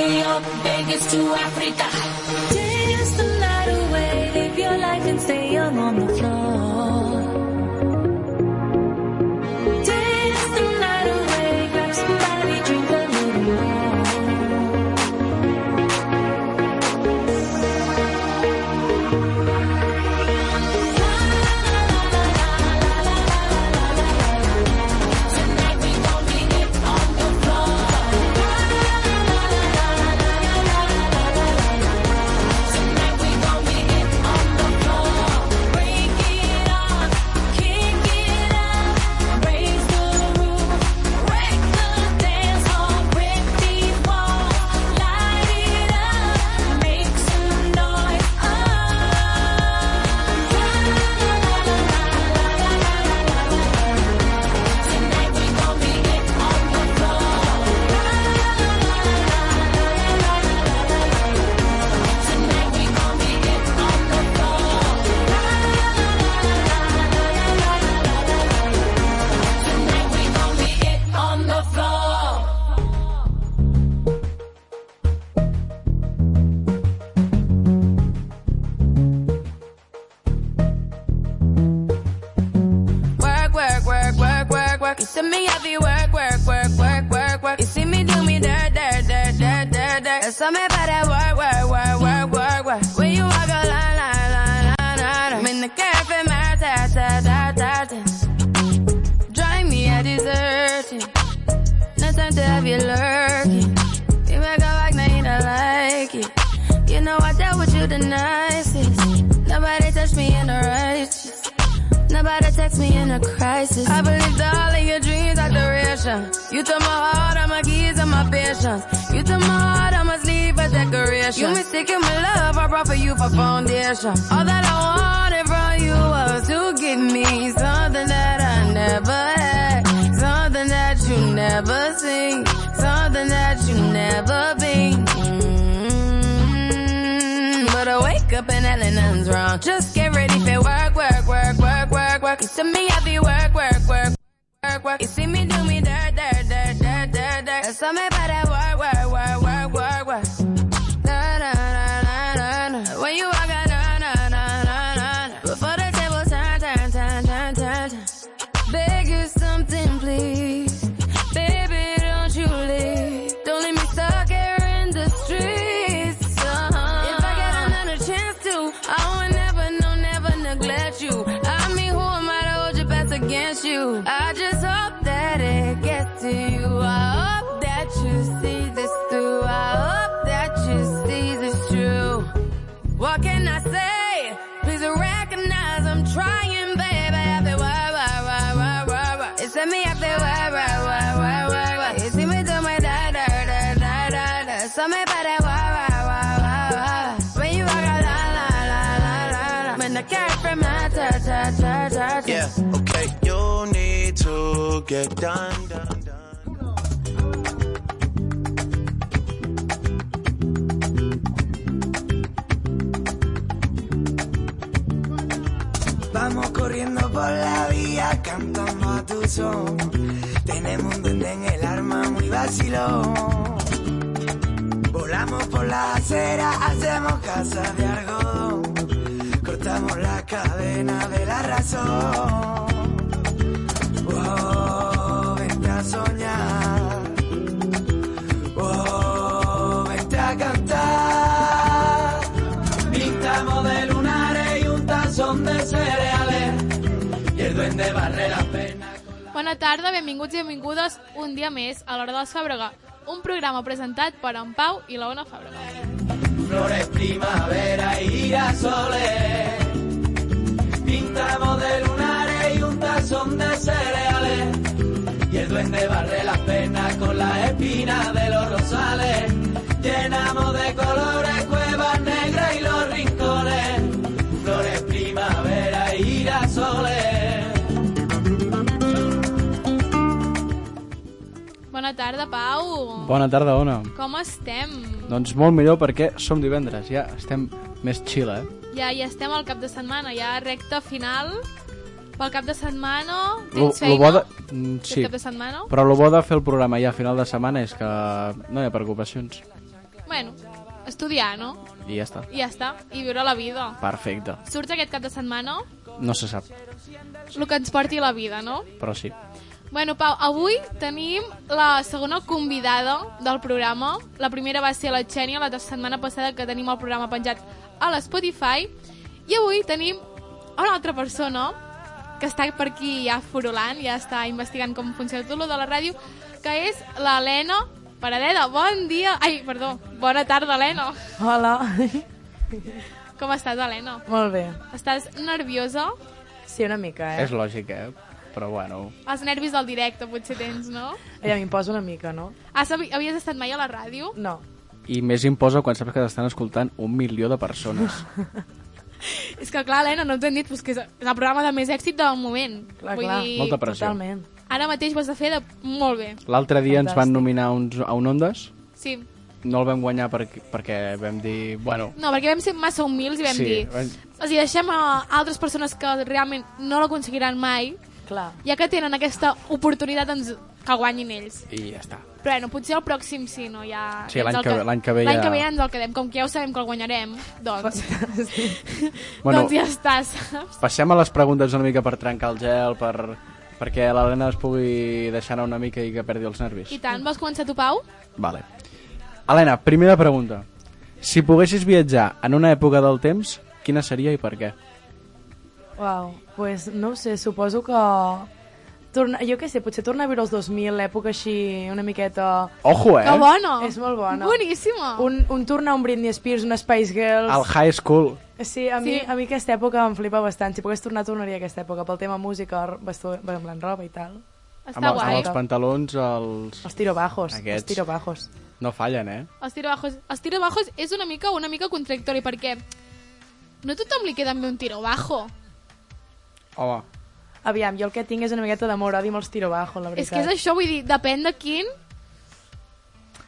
from Vegas to Africa. Dance the night away, live your life and stay young on the floor. Dance the night away, grab somebody, drink a little more. Tonight we gon' be it on the floor. Tonight we gon' be it on the floor. Break it up, kick it up, raise the roof, wreck the dance hall, break these walls, light it up, make some noise. Tonight we gon' be it on the floor. Tonight we gon' be it on the floor. Tonight we gon' be it on the floor. Work, work, work, work, work, work. You see me heavy work, work, work, work, work, work. You see me do me dirt, dirt, dirt, dirt, dirt, dirt. And some about that work, work, work, work, work, work. When you walk a line, line, line, line, line. I'm in the cafe, my ta, ta, ta, ta, ta. Drive me, I desert you. No time to have you lurking. You make a back, now you don't like it. You know I dealt with you the nicest. Nobody touched me in the righteous. Nobody text me in a crisis. I believed all of your dreams are duration. You took my heart, all my keys, and my patience. You took my heart, I must leave a decoration. You mistaken my love, I brought for you for foundation. All that I wanted from you was to give me something that I never had, something that you never seen, something that you never been. Mm, But I wake up and hell and nothing's wrong. Just get ready for work, work, work, work, work, work. You see me heavy work, work, work, work, work. You see me do me dirt, dirt, dirt, dirt, dirt, dirt. And some about that work, work, work, work, work, work. Na, na, na, na, na, na. When you walk out, na, na, na, na, na, na. Before the table turn, turn, turn, turn, turn, turn. Beg you something, please. Baby, don't you leave. Don't leave me stuck here in the streets. Uh-huh. If I get another chance to, I will never, no, never neglect you. I mean, who am I to hold your best against you? I just hope that it gets to you. I hope that you see this through. I hope that you see this through. What can I say? Please recognize I'm trying, baby. I've been wah, wah, wah, wah, wah, wah. It's in me, I've been wah, wah, wah, wah, wah, wah. You see me do my da, da, da, da, da, da. So me about that wah, wah, wah, wah, wah. When you walk out, la, la, la, la, la, la. When I carry from my ta, ta, ta, ta, ta. Yeah, okay. You need to get done, done, done. Vamos corriendo por la vía, cantando a tu son. Tenemos un duende en el arma muy vacilón. Volamos por las aceras, hacemos casas de algodón. Cortamos la cadena de la razón. Oh, vente a soñar. Oh, vente a cantar. Pintamos de lunares y un tazón de cereales. Y el duende barre las penas. Bona tarda, benvinguts i benvingudes un dia més a l'Hora de la Fàbrega, un programa presentat per en Pau i la Ona Fàbrega. Flores primavera y girasoles. Pintamos de lunares y un tazón de cereales. Y el duende barre las penas con las espinas de los rosales. Llenamos de colores cuevas negras y los rincones. Flores primavera y girasoles. Bona tarda, Pau! Bona tarda, Ona. Com estem? Doncs molt millor perquè som divendres, ja estem més chill, eh? Ja, ja estem al cap de setmana, ja recta final. Pel cap de setmana... Lo- Tens lo feina? Mm, Aquest sí, cap de setmana? però el bo de fer el programa ja a final de setmana és que no hi ha preocupacions. Bueno, estudiar, no? I ja està. I ja està, i viure la vida. Perfecte. Surts aquest cap de setmana No se sap, el que ens porti la vida, no? però sí. Bueno, Pau, avui tenim la segona convidada del programa. La primera va ser la Xènia, la de setmana passada que tenim el programa penjat a l'Spotify. I avui tenim una altra persona que està per aquí ja furulant, ja està investigant com funciona tot lo de la ràdio, que és l'Helena Paradeda. Bon dia! Ai, perdó. Bona tarda, Helena. Hola. Com estàs, Helena? Molt bé. Estàs nerviosa? Sí, una mica, eh? És lògic, eh? Però bueno, Els nervis del directe potser tens, no? Allà m'imposa una mica, no? Has, havies estat mai a la ràdio? No. i més imposa quan saps que t'estan escoltant un milió de persones. És que clar, Helena, no ens hem dit pues, que és el programa de més èxit del moment. Clar, clar. dir, Molta pressió. Totalment. ara mateix ho has de fer de... molt bé. L'altre dia ens van Fantàstic. nominar a uns, a un Ondes, Sí. no el vam guanyar per, perquè vam dir, bueno, No, perquè vam ser massa humils i vam Sí, dir... vam- O sigui, deixem a altres persones que realment no l'aconseguiran mai, Clar. ja que tenen aquesta oportunitat doncs, que guanyin ells. i ja està. Però bueno, potser el pròxim sí, no? Ja, Sí, ja ens l'any el que- l'any que ve L'any ja- que ve ja ens el quedem, com que ja ho sabem que el guanyarem, doncs, Bueno, doncs ja està, saps? Passem a les preguntes una mica per trencar el gel, per, perquè l'Helena es pugui deixar anar una mica i que perdi els nervis. I tant, vols començar tu, Pau? Vale. Helena, primera pregunta. Si poguessis viatjar en una època del temps, quina seria i per què? Uau, pues no ho sé, suposo que... Torna, jo què sé, potser tornar a viure els 2000, l'època així una miqueta... Ojo, eh? Que bona! És molt bona. Boníssima! Un, un tornar a un Britney Spears, una Spice Girls... Al high school. Sí, a mi, Sí. a mi aquesta època em flipa bastant. Si pogués tornar, tornaria a aquesta època. Pel tema música, r- bastó, en plan roba i tal. Està amb, guai. amb els pantalons, els... Els tiro bajos, Aquests. els tiro bajos. No fallen, eh? Els tirabajos, els tirabajos és una mica una mica contradictori perquè no a tothom li queda bé un tirabajo. Home, Aviam, jo el que tinc és una miqueta d'amor-odi amb els tiro bajos, la veritat. És que és això, vull dir, depèn de quin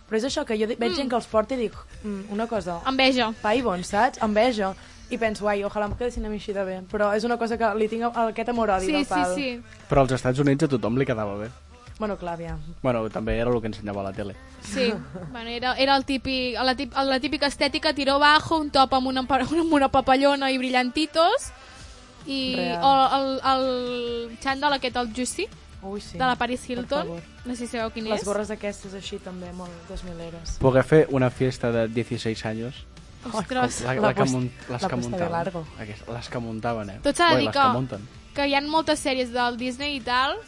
Però és això, que jo di- veig gent que els porta i dic, mm, una cosa, enveja. pa i bons, saps? Enveja. I penso, ai, ojalà em quedessin a mi així de bé. Però és una cosa que li tinc a- aquest amor-odi Sí, del sí, pal. sí. però als Estats Units a tothom li quedava bé. Bueno, clar, aviam. Bueno, també era el que ensenyava a la tele. Sí, bueno, era, era el típic, la, tip, la típica estètica, tiró bajo, un top amb una, empa- amb una papallona i brillantitos, i Real. o el, el xandall aquest, el Juicy, Ui, sí. de la Paris Hilton, favor. no sé si sabeu quin Les és. gorres aquestes així també, molt 2000 eres. Poder fer una fiesta de 16 anys Ostres, La, la, La que, post- mun, les la que posta de muntaven. largo. Aquest, les que muntaven, eh? Tot s'ha de Bé, dir les que, que munten. que hi ha moltes sèries del Disney i tal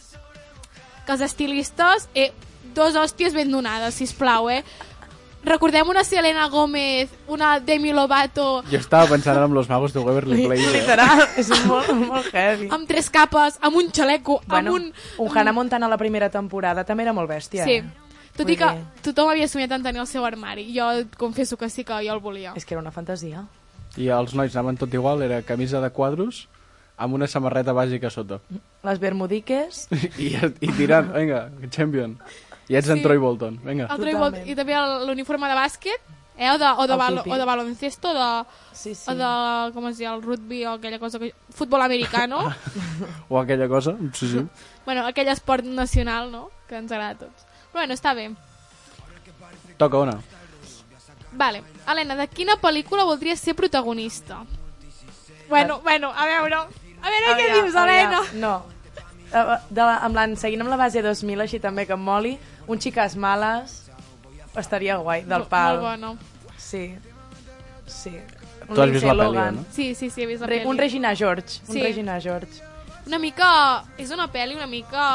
que els estilistes... Eh, dos hòsties ben donades, si plau, eh? Recordem una Selena Gómez, una Demi Lovato, Jo estava pensant en los magos de Waverly Place. Eh? Literal, és molt, molt heavy. amb tres capes, amb un xaleco, Bueno, amb un... un, un Hannah Montana a la primera temporada també era molt bèstia. Sí. Eh? Tot i Vull que dir- tothom havia somiat en tenir el seu armari. Jo et confesso que sí que jo el volia. És que era una fantasia. I els nois anaven tot igual, era camisa de quadros amb una samarreta bàsica a sota. Les Bermudiques, I, i tirant, vinga, champion. I ets sí. en Troy Bolton, vinga. El Troy Bolt, Totalment. I també el- l'uniforme de bàsquet, eh? o, de, o, de El bal, típic. o de baloncesto, de, sí, sí. o de, com es diu, el rugby o aquella cosa que... Futbol americano. O aquella cosa, sí, sí. Bueno, aquell esport nacional, no?, que ens agrada a tots. Però bueno, està bé. Toca una. Vale. Helena, de quina pel·lícula voldries ser protagonista? Bueno, bueno, a veure... A veure què Aviam, dius, aviam. Helena! No. Eh, De la, amb la, seguint amb la base 2000, així també, que em moli, un xiques males estaria guai, del pal. Molt bona. Sí. Sí. Tu has vist la pel·li, Logan. no? Sí, sí, sí, he vist la Re, pel·li. un Regina George. Un Sí. Regina George. Una mica... És una pel·li una mica...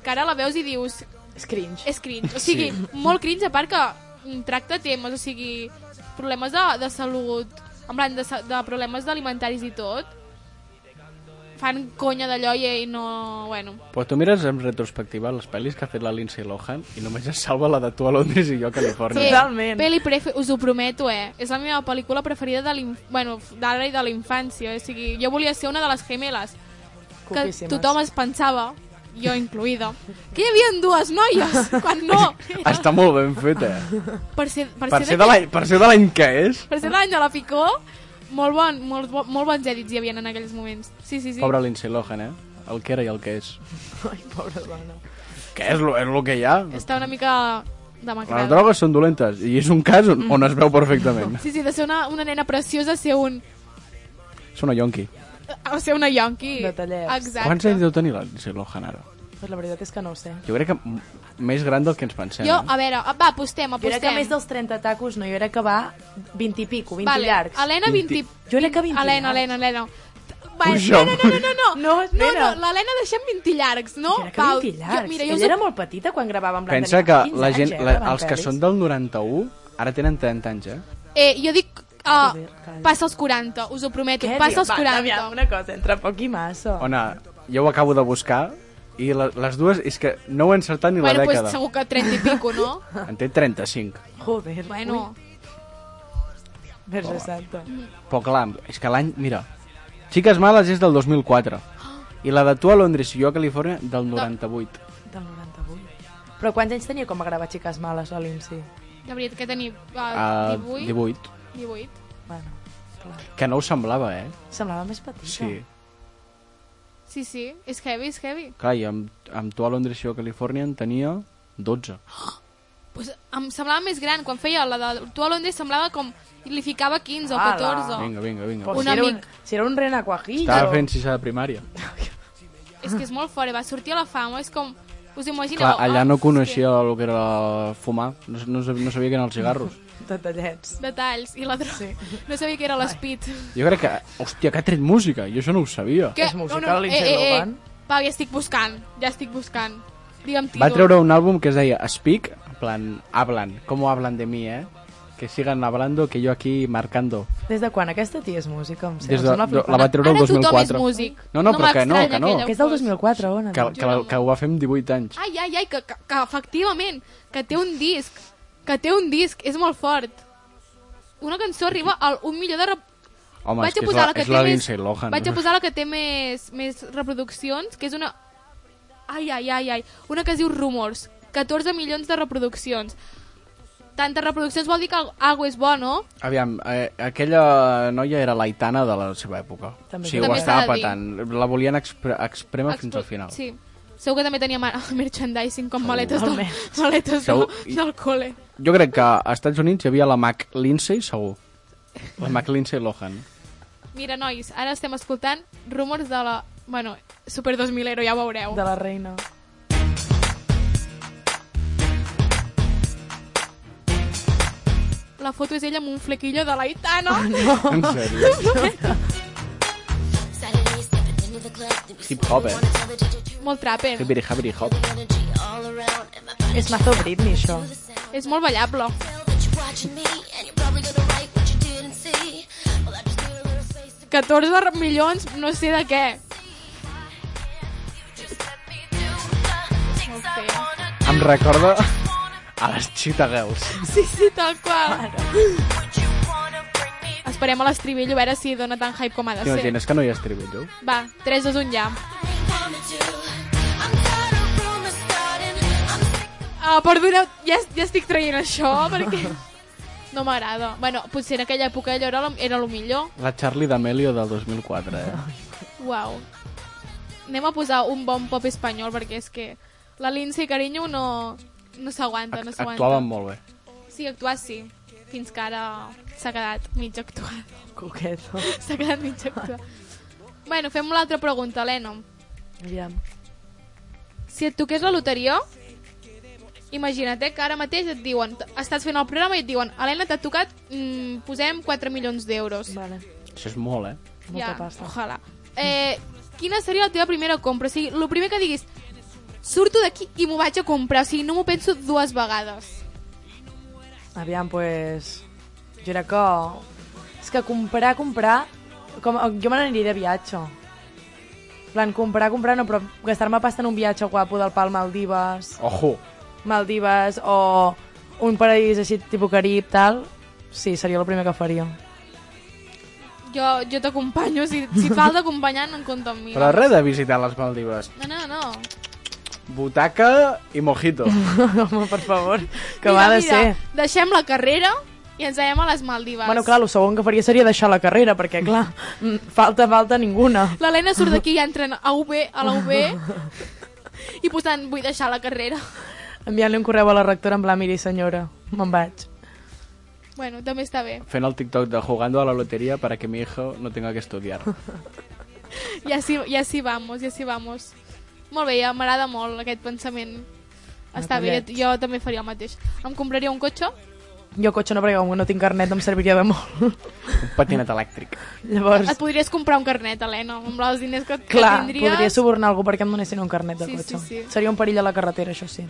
Que ara la veus i dius... És cringe. És cringe. O sigui, Sí. molt cringe, a part que mm, tracta temes, o sigui... Problemes de, de salut, en plan, de, sa- de problemes alimentaris i tot. Fan conya d'allò i, i no... Bueno, Però tu mires en retrospectiva les pel·lis que ha fet la Lindsay Lohan i només es salva la de tu a Londres i jo a Califòrnia. Sí. Totalment. Peli prefe, us ho prometo, eh? És la meva pel·lícula preferida de l'in- bueno, d'ara i de la infància. O sigui, jo volia ser una de les gemeles que Coquíssimes. tothom es pensava, jo incluïda, que hi havia dues noies, quan no. Està molt ben fet, eh? Per ser, per Per ser, ser de, de l'any per ser de l'any que és. per ser de l'any de la Picó, molt, bon, molt, bo- molt bons èdits hi havia en aquells moments. Sí, sí, sí. Pobra Lindsay Lohan, eh? El que era i el que és. Ai, pobra dona. Que és lo, és lo que hi ha. Està una mica de Macrel. Les drogues són dolentes i és un cas on, on es veu perfectament. Sí, sí, de ser una, una nena preciosa a ser un... És una yonqui. a ser una yonqui. De tallers. Exacto. Quants anys deu tenir la Lindsay Lohan ara? Pues la veritat és que no ho sé. Jo crec que m- més gran del que ens pensem. Jo, eh? a veure, va, apostem, Jo era que apostem. més dels 30 tacos, no, jo era que va 20 i pico, 20 vale. llargs. Helena, 20... 20... Jo era que 20 Helena, llargs. Helena, Helena. Va, Puja. no, no, no, no, no, No, no, espera. no l'Helena deixem 20 llargs, no? Jo era que 20 llargs. Jo, mira, jo Ella us ho... era molt petita quan gravàvem Blanc Pensa de que Neu. 15 la anys, gent, eh, la, graven els que pel·lis. són del 91 ara tenen 30 anys, eh? Eh, jo dic... Uh, Joder, calla. passa els 40, us ho prometo. Què dius? passa els Va, 40. aviam, una cosa, entre poc i oh. massa. Ona, jo ho acabo de buscar i la, les dues és que no ho he encertat ni bueno, la pues, dècada. segur que 30 i pico, no? En té 35. Joder. bueno, Ui, Verge Santa. Però clar, és que l'any... Mira, Xiques Males és del 2004 i la de Tu a Londres i jo a Califòrnia del 98. Del 98. Però quants anys tenia com a gravar Xiques Males a l'IMSI? la veritat que tenir uh, A 18, 18. 18. Bueno, clar. Que no ho semblava, eh? Semblava més petita. Sí. Sí, sí, és heavy, és heavy. Clar, i amb, amb Tu a Londres i jo a Califòrnia en tenia 12. Pues, em semblava més gran, quan feia la de tu a Londres semblava com... Li ficava 15 o Ala. 14. Vinga, vinga, vinga. Però Un si era amic. Un, si era un renacuajillo. Estava fent sisè de primària. És que és molt fort, va sortir a la fama, és com... Us imagineu? Clar, allà no Ah, coneixia el que era fumar, no, no, sabia, no sabia què eren els cigarros. De tallets. hòstia, Detalls, i la droga. Sí. No sabia que era l'espit. Jo crec que, hòstia, que ha tret música, jo això no ho sabia. Que... eh, És musical, Lindsay Lohan? Va, ja estic buscant, ja estic buscant. Digue'm títol. Va treure un àlbum que es deia Speak, en plan, hablan, como hablan de mi, eh? Que sigan hablando, que jo aquí marcando. Des de quan? Aquesta tia és música, em sé. em Des de, sembla de, flipant. la va treure el Ara tothom 2004. és músic. No, no, No però que no, m'estranya que no. aquella. Ah, Que és del 2004, Ona. Que, que, la- que ho va fer amb 18 anys. Ai, ai, ai, que, que, que efectivament, que té un disc, que té un disc, és molt fort. Una cançó arriba al un milió de... Rep... Home, Vaig és a que és posar la, la que és té la més... Lindsay Lohan. eh? Vaig a posar la que té més, més reproduccions, que és una... Ai, ai, ai, ai. Una que es diu Rumors. 14 milions de reproduccions. Tantes reproduccions vol dir que al- algo és bo, no? Aviam, eh, aquella noia era l'Aitana de la seva època. També s'ha sí, ho de dir. estava També s'ha petant. La volien expre exprema fins Expo- al final. Sí. Segur que també tenia mar- merchandising com maletes, del, Almenys. maletes del, Segur. I- del col·le. Jo crec que a Estats Units hi havia la Mac Lindsay, segur. La Mac Lindsay Lohan. Mira, nois, ara estem escoltant rumors de la... Bueno, Super 2000 ero, ja ho veureu. De la reina. La foto és ella amb un flequillo de l'Aitana. En sèrio. Suddenly stepping into the club, then we Hip hop, eh? molt trapper. Hibbity hibbity hop. energy all around, and my body És mazo Britney, això. És molt ballable. felt that you're watching me, and you're probably gonna write what you didn't see. Well, I just need a little space to 14 milions, no sé de què. Molt feia. Em recorda a les Cheetah Girls. Sí, sí, tal qual. Esperem a l'estribillo, a veure si dona tan hype com ha de ser. T'imagines que no hi ha estribillo? Va, 3, 2, 1, ja. Ah, perdoneu, ja, ja estic traient això, perquè no m'agrada. Bueno, potser en aquella època allò era, lo- era el millor. La Charlie d'Amelio del 2004, eh? Uau. Anem a posar un bon pop espanyol, perquè és que la Lindsay Carinyo no, no s'aguanta, Doncs no s'aguanta. Actuaven molt bé. Sí, actuar sí. Fins que ara s'ha quedat mig actuat. Coqueto. S'ha quedat mig actuat. Bueno, fem l'altra pregunta, Helena. Aviam. Si et toqués la loteria, imagina't eh, que ara mateix et diuen, estàs fent el programa i et diuen, Helena, t'ha tocat, mm, posem 4 milions d'euros. Vale. Això és molt, eh? Molta pasta. Ojalà. Eh, quina seria la teva primera compra? O sigui, el primer que diguis, surto d'aquí i m'ho vaig a comprar, o sigui, no m'ho penso dues vegades. Aviam, pues... Jo era que... És que comprar, comprar... Com... Jo me n'aniria de viatge. En plan, comprar, comprar, no, però gastar-me pasta en un viatge guapo del pal Maldives, Ojo! Maldives o un paradís així tipus Carib, tal, sí, seria el primer que faria. Jo, jo t'acompanyo, si, si et falta acompanyar, no en compta amb mi. Però res de visitar les Maldives. No, no, no. Butaca i mojito. Home, per favor, que va de ser. Deixem la carrera i ens anem a les Maldives. Bueno, clar, el segon que faria seria deixar la carrera, perquè, clar, mm, falta, falta ninguna. L'Helena surt d'aquí i entra a UB, a la UB, i posant, vull deixar la carrera. enviant-li un correu a la rectora en plan, miri senyora, me'n vaig. Bueno, també està bé. Fent el TikTok de jugando a la lotería para que mi hijo no tenga que estudiar. I així, i així vamos, i així vamos. Molt bé, ja m'agrada molt aquest pensament. Ah, Està bé, Nataliet. jo, jo també faria el mateix. Em compraria un cotxe, Jo cotxe no, perquè com que no tinc carnet em serviria de molt. Un patinet elèctric. Llavors, et podries comprar un carnet, Helena, amb els diners que, que clar, tindries. podria subornar algú perquè em donessin un carnet de Sí, sí, cotxe. sí. Seria un perill a la carretera, això sí.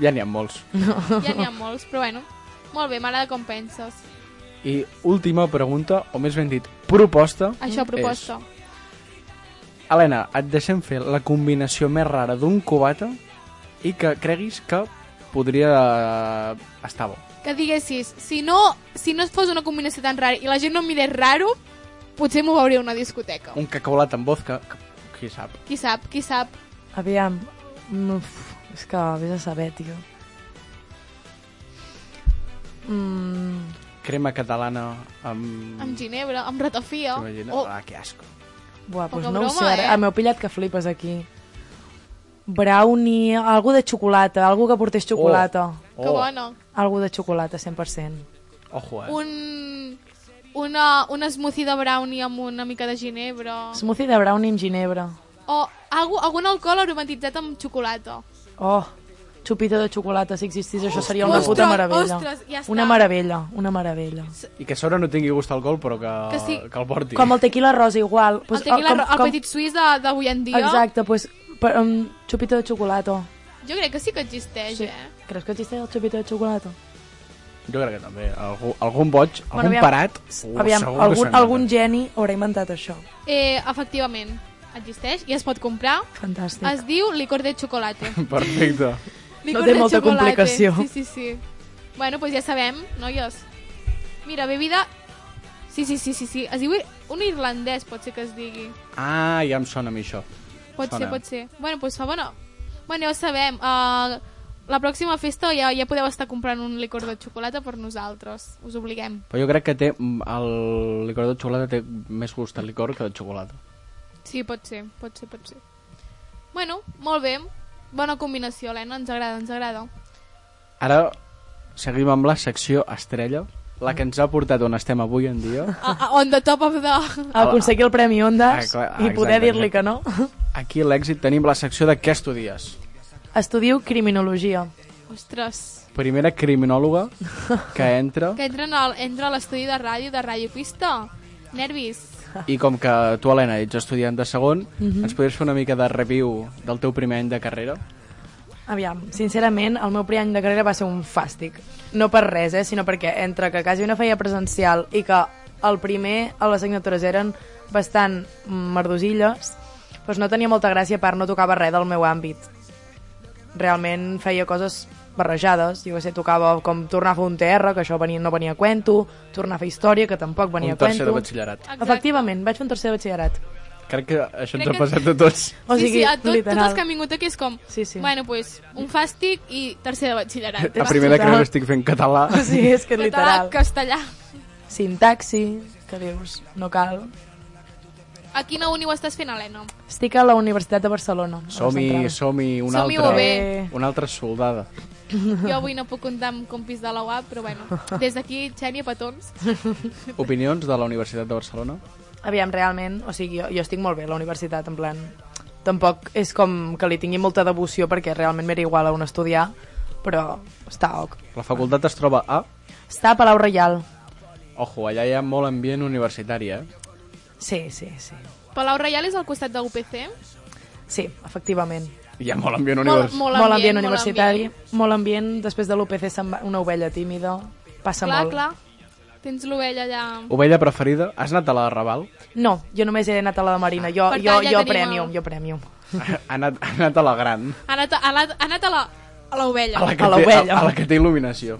Ja n'hi ha molts. Ja n'hi ha molts, però bueno. Molt bé, m'agrada com penses. I última pregunta, o més ben dit, proposta. Això proposta. Helena, et deixem fer la combinació més rara d'un cubata i que creguis que podria eh, estar bo. Que diguessis, si no, si no es fos una combinació tan rara i la gent no em mirés raro, potser m'ho veuria a una discoteca. Un cacaolat amb vodka, que, qui sap. Qui sap, qui sap. Aviam, mm, uf, és que vés a saber, tio. Mm, Crema catalana amb... Amb ginebra, amb ratafia. T'imagines? O, Ah, que asco. buah, doncs Poca no ho broma, sé, eh? ara, m'heu pillat que flipes aquí. Brownie, algú de xocolata, algú que portés xocolata. Oh. que bona. Algú de xocolata, 100%. Ojo, eh? Un, una, un smoothie de brownie amb una mica de ginebra. Smoothie de brownie amb ginebra. O algú, algun alcohol aromatitzat amb xocolata. Oh, xupito de xocolata, si existís això seria una Ostres, puta meravella. ostres, ja està. una meravella, una meravella. I que a sobre no tingui gust alcohol, però que, Que sí. que el porti. Com el tequila rosa, igual. Pues, el tequila, com, el, el petit suís de- d'avui en dia. Exacte, pues, per, um, xupito de xocolata. Jo crec que sí que existeix, Sí. eh? Creus que existeix el xupito de xocolata? Jo crec que també. Algú, algun boig, algun aviam. parat... Uh, Aviam, segur que algun, s'ho algun inventa. geni haurà inventat això. Eh, efectivament, existeix i es pot comprar. Fantàstic. Es diu licor de xocolate. Perfecte. Licor té de molta chocolate. complicació. Sí, sí, sí. Bueno, pues ja sabem, noies. Mira, bebida... Sí, sí, sí, sí, sí. Es diu un irlandès, pot ser que es digui. Ah, ja em sona a mi això. Pot Sona. ser, pot ser. Bueno, pues fa bona. Bueno, ja ho sabem. Uh, la pròxima festa ja, ja podeu estar comprant un licor de xocolata per nosaltres. Us obliguem. Però jo crec que té mm, el licor de xocolata té més gust de licor que de xocolata. Sí, pot ser, pot ser, pot ser. Bueno, molt bé. Bona combinació, Helena. Ens agrada, ens agrada. Ara seguim amb la secció estrella, la que ens ha portat on estem avui en dia. Ah, ah, on the top of the... Aconseguir el Premi Ondas Ah, clar, ah, i poder exacte, dir-li que exacte. no. Aquí a l'èxit tenim la secció de què estudies. Estudio criminologia. Ostres. Primera criminòloga que entra Que entren al, entra a l'estudi de ràdio de Ràdio Pista. Nervis. i com que tu, Helena, ets estudiant de segon, ens podries fer una mica de review del teu primer any de carrera? Aviam, sincerament, el meu primer any de carrera va ser un fàstic. No per res, eh, sinó perquè entre que quasi no feia presencial i que el primer a les signatures eren bastant merdosilles, doncs no tenia molta gràcia, a part no tocava res del meu àmbit. Realment feia coses barrejades, jo què sé, tocava com tornar a fer un TR, que això venia, no venia a cuento, tornar a fer història, que tampoc venia a un cuento. tercer de batxillerat. Efectivament, vaig fer un tercer de batxillerat. Crec que això Crec ens ha que- passat a tots. O sigui, sí, sí, a tot, tots literal. els que han vingut aquí és com... Sí, sí. Bueno, pues, un fàstic i tercer de batxillerat. A primera total. carrera estic fent català. O sigui, és que Català, literal. castellà. Sintaxi, que dius, no cal. A quina uni ho estàs fent, Helena? Estic a la Universitat de Barcelona. a la Som-hi, Central. som-hi, una Som-hi, altra. bebè. Una altra soldada. Jo avui no puc comptar amb compis de la UAB, però bueno. Des d'aquí, Xènia, petons. Opinions de la Universitat de Barcelona? Aviam, realment, o sigui, jo, jo estic molt bé a la universitat, en plan... Tampoc és com que li tingui molta devoció perquè realment m'era igual a on estudiar, però està ok. La facultat es troba a... Està a Palau Reial. Ojo, allà hi ha molt ambient universitari, eh? Sí, sí, sí. Palau Reial és al costat de UPC. Sí, efectivament. Hi ha molt ambient universitari. molt molt ambient, ambient molt universitari, molt ambient. Després de l'UPC se'n va una ovella tímida. Passa Clar, molt. clar. Tens l'ovella allà... Ovella preferida? Has anat a la de Raval? No, jo només he anat a la de Marina. Jo, Per jo, tant, ja jo tenim premium, el- jo premium. ha, anat, ha anat a la gran. Ha anat a, ha anat, ha anat a la a l'ovella, A la que, A té, l'ovella. a, a la que té il·luminació.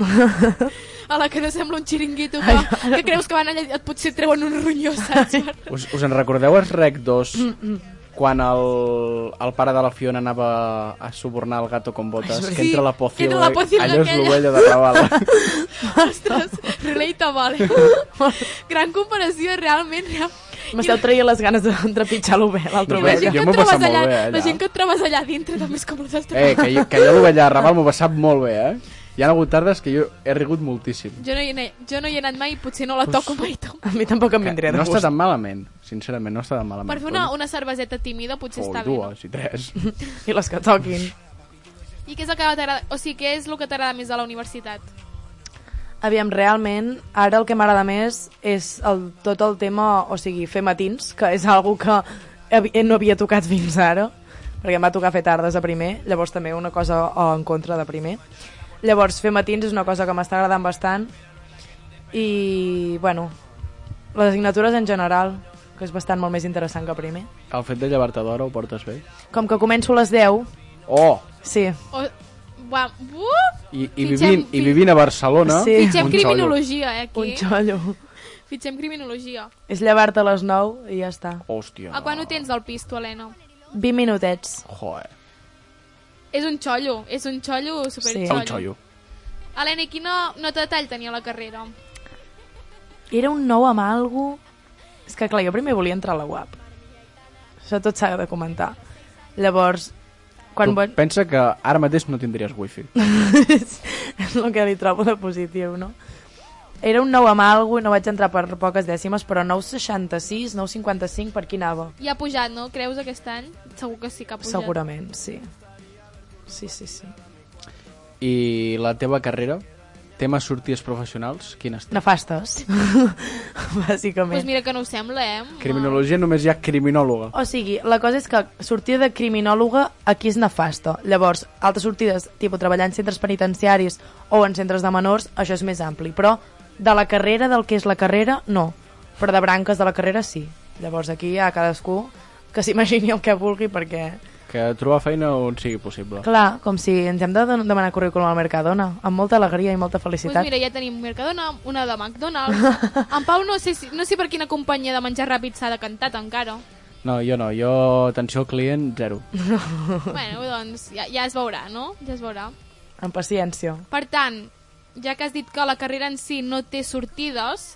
a la que no sembla un xiringuito que, que creus que van allà i et potser et treuen un ronyó, saps? Us, us en recordeu els Rec 2? Mm, quan el, el pare de la Fiona anava a subornar el gato con botes, que entra la que pocil, entra la pocil allò és aquella. l'ovella de Raval. Ostres, relatable. Gran comparació, realment. real- M'esteu traient les ganes de trepitjar-lo bé, l'altre Jo- La bé. gent, jo que m'ho he et passat trobes allà, molt bé, allà. la gent que et trobes allà dintre també és com les altres. Eh, que jo, que jo l'ovella Raval m'ho va sap molt bé, eh? Hi ha hagut tardes que jo he rigut moltíssim. Jo no, hi he, anat- jo no hi he anat mai, potser no la toco mai. tu. A mi tampoc em vindria Que de no està gust. tan malament, sincerament, no està tan malament. Per fer una, una cerveseta tímida potser Oh, està i bé. No? dues i tres. I les que toquin. I què és el que t'agrada? O sigui, què és el que t'agrada més de la universitat? Aviam, realment, ara el que m'agrada més és el, tot el tema, o sigui, fer matins, que és algo que havi- eh, no havia tocat fins ara, perquè em va tocar fer tardes a primer, llavors també una cosa eh, en contra de primer. Llavors, fer matins és una cosa que m'està agradant bastant i, bueno, les assignatures en general, que és bastant molt més interessant que primer. El fet de llevar-te d'hora ho portes bé? Com que començo a les 10, Oh! sí, O... Va, buf! I, i, Fitxem- vivint, i fi- vivint a Barcelona... Sí. Fitxem Eh, un criminologia, un eh, aquí. xollo. Fitxem criminologia. És llevar-te a les 9 i ja està. xollo. Hòstia. A quan ho tens del pis, tu, Helena? 20 minutets. Joder, És un xollo, és un xollo Sí. superxollo. un xollo. Helena, i quina nota de tall tenia la carrera? Era un nou amb algo... És que clar, jo primer volia entrar a la UAP. Això tot s'ha de comentar. Llavors, quan... Tu Bon... pensa que ara mateix no tindries wifi. és el que li trobo de positiu, no? Era un nou amb algo i no vaig entrar per poques dècimes, però 9,66, 9,55, per qui anava? I ha pujat, no? Creus aquest any? Segur que sí que ha pujat. Segurament, sí. Sí, sí, sí. I la teva carrera? Temes sorties professionals? Quines tens? Nefastes, Doncs pues bàsicament. mira que no Oh. ho sembla, eh? Criminologia només hi ha criminòloga. O sigui, la cosa és que sortida de criminòloga aquí és nefasta. Llavors, altres sortides, tipus treballar en centres penitenciaris o en centres de menors, això és més ampli. Però de la carrera, del que és la carrera, no. Però de branques de la carrera, sí. Llavors aquí hi ha cadascú que s'imagini el que vulgui perquè... Que trobar feina on sigui possible. Clar, com si ens hem de don- demanar currículum al Mercadona, amb molta alegria i molta Doncs felicitat. pues mira, ja tenim Mercadona, una de McDonald's. En Pau no sé, si, no sé per quina companyia de menjar ràpid s'ha decantat encara. No, jo no. Jo, atenció al client, zero. bueno, doncs ja, ja es veurà, no? Ja es veurà. Amb paciència. Per tant, ja que has dit que la carrera en si no té sortides,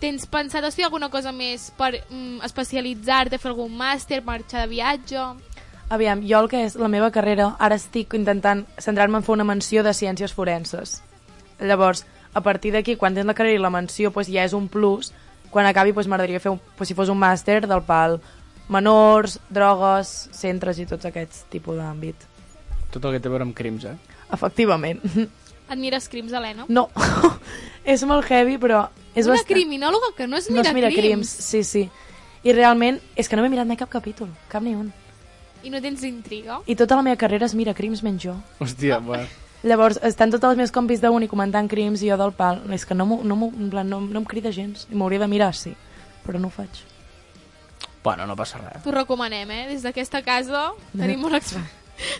tens pensat a fer alguna cosa més per mm, especialitzar-te, fer algun màster, marxar de viatge... Aviam, jo el que és la meva carrera, ara estic intentant centrar-me en fer una menció de ciències forenses. Llavors, a partir d'aquí, quan tens la carrera i la menció, doncs ja és un plus. Quan acabi, doncs m'agradaria fer, un, doncs si fos un màster del pal menors, drogues, centres i tots aquests tipus d'àmbit. Tot el que té a veure amb crims, eh? Efectivament. Et mires crims, Helena? No, és molt heavy, però és una bastant... criminòloga que no es No mira, es mira crims. crims. Sí, sí. I realment, és que no m'he mirat mai cap capítol, cap ni un. I no tens intriga. I tota la meva carrera es mira crims menys jo. Hòstia, bueno. Llavors, estan tots els meus compis d'un i comentant crims i jo del pal. És que no, m'ho- no, m'ho- en plan, no, no em crida gens. I M'hauria de mirar, sí. Però no ho faig. bueno, no passa res. T'ho recomanem, eh? Des d'aquesta casa tenim bona, exper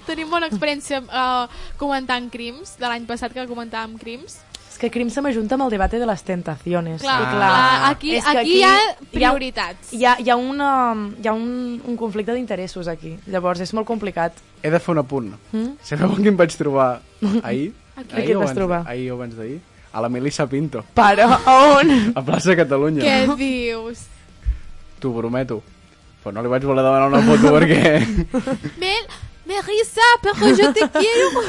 tenim bona experiència uh, comentant crims, de l'any passat que comentàvem crims. És que crims se m'ajunta amb el debate de les tentaciones. Clar, I clar, aquí- és que aquí hi ha prioritats. Hi ha, hi ha, una, hi ha un, un conflicte d'interessos aquí. Llavors, és molt complicat. He de fer un apunt. Mm? Sabeu amb qui em vaig trobar ahir? A qui et o vas abans- trobar? Ahir o abans d'ahir? A la Melissa Pinto, Però, on? a plaça Catalunya. Què dius? T'ho prometo. Però no li vaig voler demanar una foto perquè... Mel, Melissa, però jo te quiero.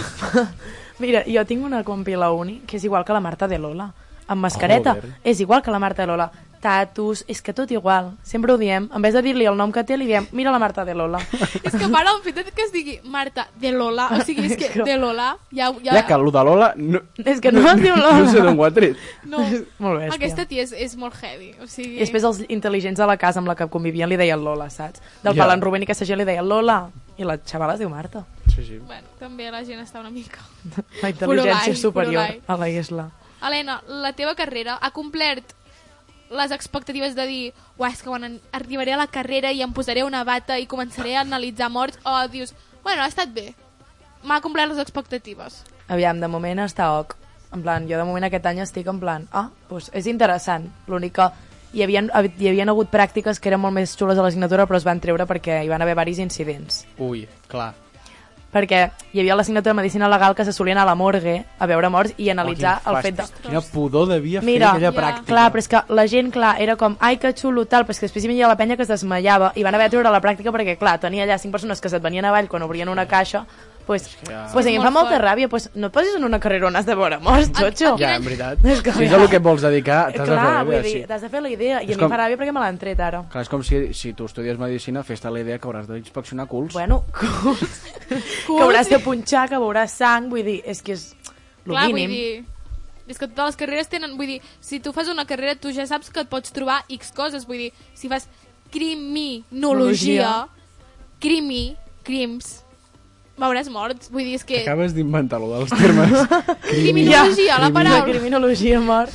Mira, jo tinc una compi a la uni que és igual que la Marta de Lola, amb mascareta. Joder. És igual que la Marta de Lola. Tatus, és que tot igual. Sempre ho diem. En vez de dir-li el nom que té, li diem, mira la Marta de Lola. és que para un fet que es digui Marta de Lola, o sigui, és que de Lola ja... ja, Ja que el de Lola... No, és que no, es diu Lola. No sé d'on ho ha tret. no, Molt bèstia. aquesta tia és, és molt heavy, o sigui... I després els intel·ligents de la casa amb la que convivien li deien Lola, saps? Del Ja. yeah. Palan Rubén i Castelló li deien Lola. I la xavala es diu Marta. Sí, sí. Bueno, també la gent està una mica... La intel·ligència Purolai, superior Purolai. a la Isla. Helena, la teva carrera ha complert les expectatives de dir uah, és que quan en- arribaré a la carrera i em posaré una bata i començaré a analitzar morts o dius, bueno, ha estat bé m'ha complert les expectatives Aviam, de moment està ok. En plan, jo de moment aquest any estic en plan, ah, doncs és interessant. L'únic que hi havia, hi havia hagut pràctiques que eren molt més xules a l'assignatura, però es van treure perquè hi van haver varis incidents. Ui, clar. perquè hi havia l'assignatura de medicina legal que se solia anar a la morgue a veure morts i analitzar Oh, quin el fet de... fàstic. Quina pudor devia fer Mira, aquella Ja. pràctica. Clar, però és que la gent, clar, era com, ai, que xulo, tal, però és que després hi havia la penya que es desmaiava i van haver de treure la pràctica perquè, clar, tenia allà cinc persones que se't venien avall quan obrien una caixa, pues, pues, a mi em fa Molt molta fort. ràbia, pues, no et posis en una carrera on has de veure morts, xotxo. Ja, Eh, en veritat. És que, si és mira, el que et vols dedicar, t'has de fer Clar, la idea, vull dir, sí. t'has de fer la idea, i És a mi com- em fa ràbia perquè me l'han tret ara. Clar, és com si, si tu estudies medicina, fes-te la idea que hauràs d'inspeccionar culs. Bueno, culs, que hauràs de punxar, que veuràs sang, vull dir, és que és el Clar, mínim. vull dir... És que totes les carreres tenen... Vull dir, si tu fas una carrera, tu ja saps que et pots trobar X coses. Vull dir, si fas criminologia, crimi, crims, veuràs morts. Vull dir, és que... Acabes d'inventar-lo dels termes. Criminologia, la La paraula. criminologia mort.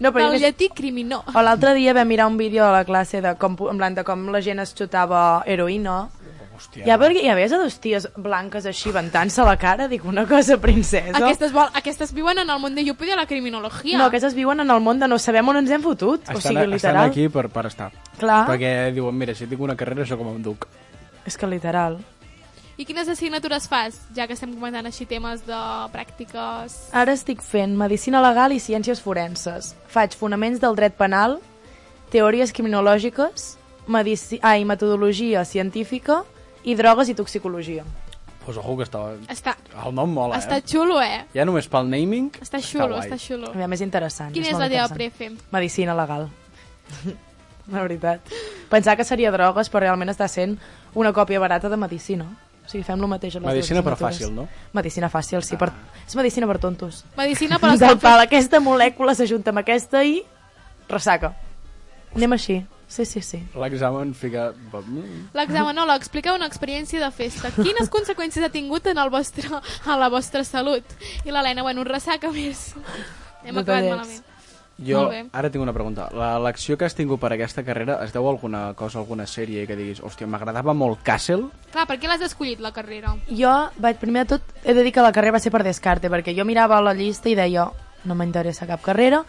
No, però jo Del més, llatí criminó. O l'altre dia vam mirar un vídeo de la classe de com, en plan, de com la gent es xutava heroïna. Hòstia. Ja, perquè, ja veies a dos ties blanques així ventant-se la cara? Dic, una cosa, princesa. Aquestes, vol, aquestes viuen en el món de Yupi de la criminologia. No, aquestes viuen en el món de no sabem on ens hem fotut. Estan, o sigui, estan literal. aquí per, per estar. Ah. Clar, Perquè diuen, mira, si tinc una carrera, això com em duc. és que literal. I quines assignatures fas? Ja que estem comentant així temes de pràctiques... Ara estic fent Medicina Legal i Ciències Forenses. Faig fonaments del dret penal, teories criminològiques, medici... ai, metodologia científica i drogues i toxicologia. Pues ojo que està... Està, El nom mola, està eh? xulo, eh? Ja només pel naming... Està xulo, guai. està xulo. A veure, més interessant. Quina és és molt la teva interessant. prefe? Medicina legal. la veritat. Pensar que seria drogues, però realment està sent una còpia barata de medicina. O sigui, fem lo mateix a les Medicina, dues però assignatures. fàcil, no? Ah. Medicina fàcil, sí. Per... És medicina per tontos. Medicina per als Del pal, aquesta molècula s'ajunta amb aquesta i ressaca. Anem així. Sí, sí, sí. L'examen fica... L'examenòleg explica una experiència de festa. Quines conseqüències ha tingut en, el vostre, en la vostra salut? I l'Helena, bueno, ressaca més. Hem No acabat t'adets. malament. Jo Molt bé. ara tinc una pregunta. L'elecció que has tingut per aquesta carrera es deu a alguna cosa, alguna sèrie que diguis hòstia, m'agradava molt Castle? Clar, per què l'has escollit, la carrera? Jo vaig, primer de tot, he de dir que la carrera va ser per descarte, perquè jo mirava la llista i deia, no m'interessa cap carrera,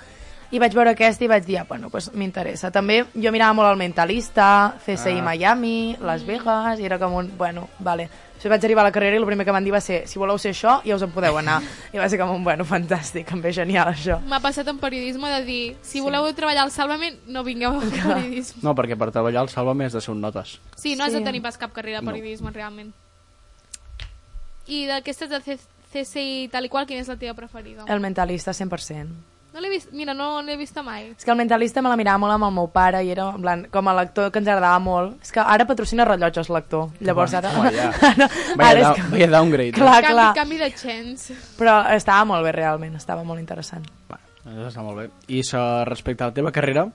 i vaig veure aquesta i vaig dir, ah, bueno, pues m'interessa. També jo mirava molt el Mentalista, CSI Ah. Miami, Las Vegas, i era com un, bueno, vale. Després vaig arribar a la carrera i el primer que van dir va ser, si voleu ser això, ja us en podeu anar. I va ser com un, bueno, fantàstic, em ve genial això. M'ha passat en periodisme de dir si voleu treballar al Salvament, no vingueu a periodisme. No, perquè per treballar al Salva més de ser un notes. Sí, no has de Sí. tenir pas cap carrera de periodisme, realment. I d'aquestes de C- CSI tal i qual, quina és la teva preferida? El Mentalista, 100%. No l'he vist... Mira, no l'he vista mai. És que el mentalista me la mirava molt amb el meu pare i era en plan, com a lector que ens agradava molt. És que ara patrocina rellotges lector. Llavors ara... Home, ja. ara, Vaya, és da, que- vaya downgrade. eh? Clar, canvi, Ah, clar. canvi de chance. Però estava molt bé realment, estava molt interessant. Va, això està molt bé. I so, respecte a la teva carrera,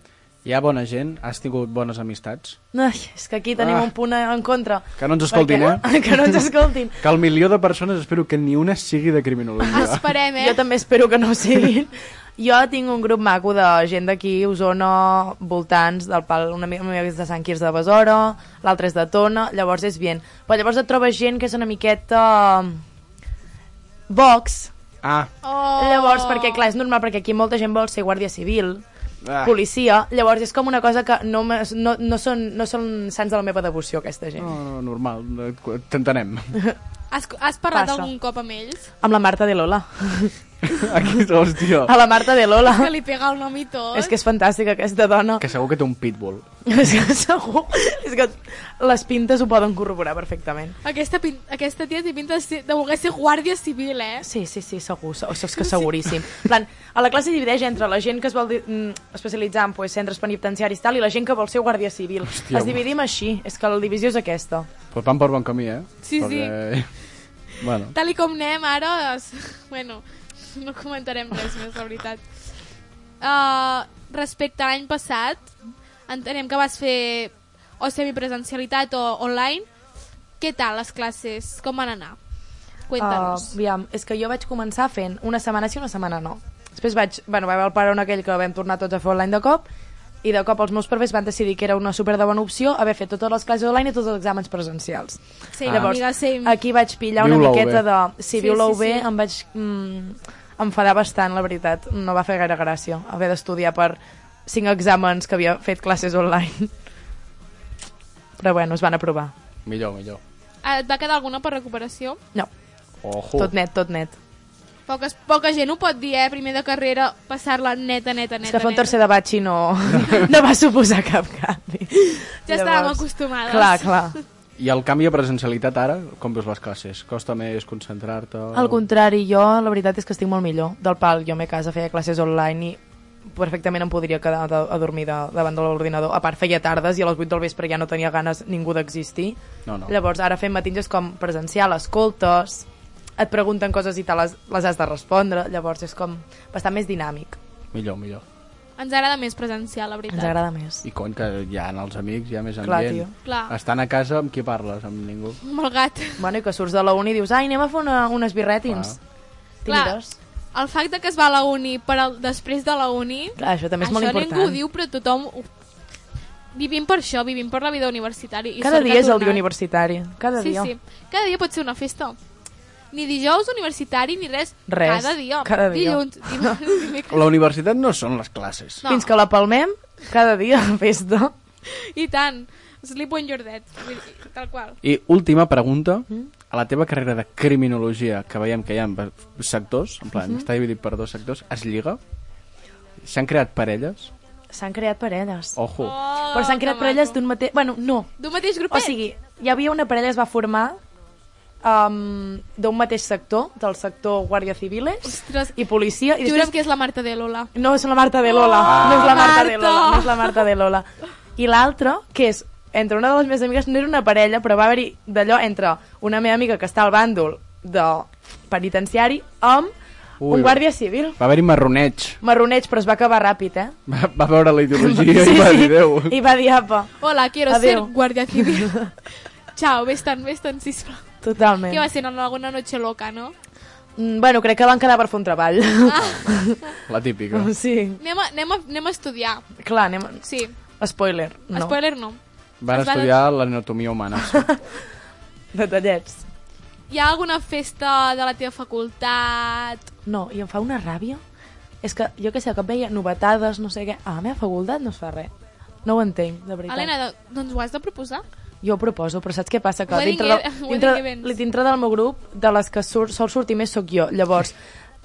hi ha bona gent? Has tingut bones amistats? Ai, és que aquí tenim Ah. un punt en contra. Que no ens escoltin, Perquè- eh? Que no ens escoltin. Que el milió de persones espero que ni una sigui de criminologia. Esperem, eh? Jo també espero que no ho siguin. Jo tinc un grup maco de gent d'aquí, Osona, voltants del pal, una amiga meva que és de Sant Quirze de Besora, l'altra és de Tona, llavors és bien. Però llavors et trobes gent que és una miqueta... Vox, Ah, Oh. Llavors, perquè clar, és normal, perquè aquí molta gent vol ser guàrdia civil, Ah. ah. policia, llavors és com una cosa que no, me- no, no, són, no són sants de la meva devoció, aquesta gent. no, Oh. no, normal, t'entenem. Has, has parlat Passa. algun cop amb ells? Amb la Marta de Lola. Aquí, hòstia. A la Marta de Lola. Que li pega el nom i tot. És que és fantàstica, aquesta dona. Que segur que té un pitbull. És que segur... És que les pintes ho poden corroborar perfectament. Aquesta, pin... aquesta tia té pinta de, ser... de voler ser guàrdia civil, eh? Sí, sí, sí, segur, se- o sigui, és que seguríssim. En plan, a la classe es divideix entre la gent que es vol di- mm, especialitzar en pues, centres penitenciaris i tal, i la gent que vol ser guàrdia civil. Hòstia, Hòstia, es dividim així, és que la divisió és aquesta. Pues van per bon camí, eh? Sí, Perquè... sí. Bueno, Tal i com anem ara, es... bueno, no comentarem res més, la veritat. Uh, respecte a l'any passat, entenem que vas fer o semipresencialitat o online. Què tal les classes? Com van anar? Cuéntanos. Uh, aviam, és que jo vaig començar fent una setmana sí, una setmana no. Després vaig, bueno, va haver el parón aquell que vam tornar tots a fer online de cop, i de cop els meus professors van decidir que era una super de bona opció haver fet totes les classes online i tots els exàmens presencials. sí, ah. llavors, amiga, sí. Aquí vaig pillar Viu la una UB. miqueta de... Sí, Sí, viu la sí, UB, sí. em vaig mm, enfadar bastant, la veritat. No va fer gaire gràcia haver d'estudiar per cinc exàmens que havia fet classes online. Però bueno, es van aprovar. millor, millor. Ah, Et va quedar alguna per recuperació? No, Ojo. tot net, tot net. Poques, poca gent ho pot dir, eh? Primer de carrera, passar-la neta, neta, neta. És que fer un neta. tercer de batxi no, no va suposar cap canvi. Ja estàvem acostumades. Clar, clar. I el canvi de presencialitat ara, com veus les classes? Costa més concentrar-te? Al contrari, jo la veritat és que estic molt millor del pal. Jo a me casa feia classes online i perfectament em podria quedar a, a dormir de, davant de l'ordinador. A part, feia tardes i a les 8 del vespre ja no tenia ganes ningú d'existir. No, no. Llavors, ara fent matins és com presencial, escoltes, et pregunten coses i te les, les has de respondre. Llavors, és com bastant més dinàmic. Millor, millor. Ens agrada més presencial, la veritat. Ens agrada més. I cony, que hi ha els amics, hi ha més Clar, ambient. tio. Clar. Estan a casa, amb qui parles? Amb ningú. Amb el gat. Bueno, i que surts de la uni i dius, ai, anem a fer una, unes birrètins. Tímides. Clar. el facte que es va a la uni per al, després de la uni... Clar, això també és això molt ningú ho important. diu, però tothom... Ho... Vivim per això, vivim per la vida universitària. I Cada sort que dia ha és el dia tornat. universitari. Cada Sí, dia. sí. Cada dia pot ser una festa. Ni dijous universitari, ni res. Res. Cada dia. Cada dia. Dilluns, dimarts, dimecres... Ah. La universitat no són les classes. No. Fins que la palmem, cada dia festa. I tant. Sleep on your dead. Vull dir, Tal qual. I última pregunta. A la teva carrera de criminologia, que veiem que hi ha sectors, en plan, està dividit per dos sectors, es lliga? S'han creat parelles? S'han creat parelles. Oh, Ojo. Però s'han creat parelles d'un mateix... Bueno, no. D'un mateix O grupet. sigui, hi havia una parella que es va formar um, d'un mateix sector, del sector Guàrdia Civiles Ostres. i policia. I Jura'm després... que és la Marta de Lola. No, és la Marta de Lola. Oh, no és la Marta, de Marta! Lola. No és la Marta de Lola. I l'altra, que és entre una de les meves amigues, no era una parella, però va haver-hi d'allò entre una meva amiga que està al bàndol de penitenciari amb Ui, un guàrdia civil. Va haver-hi marroneig. Marroneig, però es va acabar ràpid, eh? Va, va veure la ideologia i va dir adéu. I va dir, apa. Hola, quiero Adeu. ser guardia civil. Chao, ves tan, ves tan, sisplau. Totalment. Que va ser en alguna noche loca, no? Mm, Bueno, crec que van quedar per fer un treball. La típica. sí. Anem a, anem a, anem a estudiar, Clar, anem... sí. Spoiler. No. Spoiler no. Van Es van- estudiar l'anatomia humana. sí. Detallets. Hi ha alguna festa de la teva facultat? No, i em fa una ràbia. És que jo que sé, que veia novetades, no sé què. A la meva facultat no es fa res. No ho entenc, de veritat. Helena, do- doncs ho has de proposar. Jo ho proposo, però saps què passa? Que Wedding dintre, ev- del, wedding dintre, events. dintre del meu grup, de les que sur, sol sortir més sóc jo. Llavors,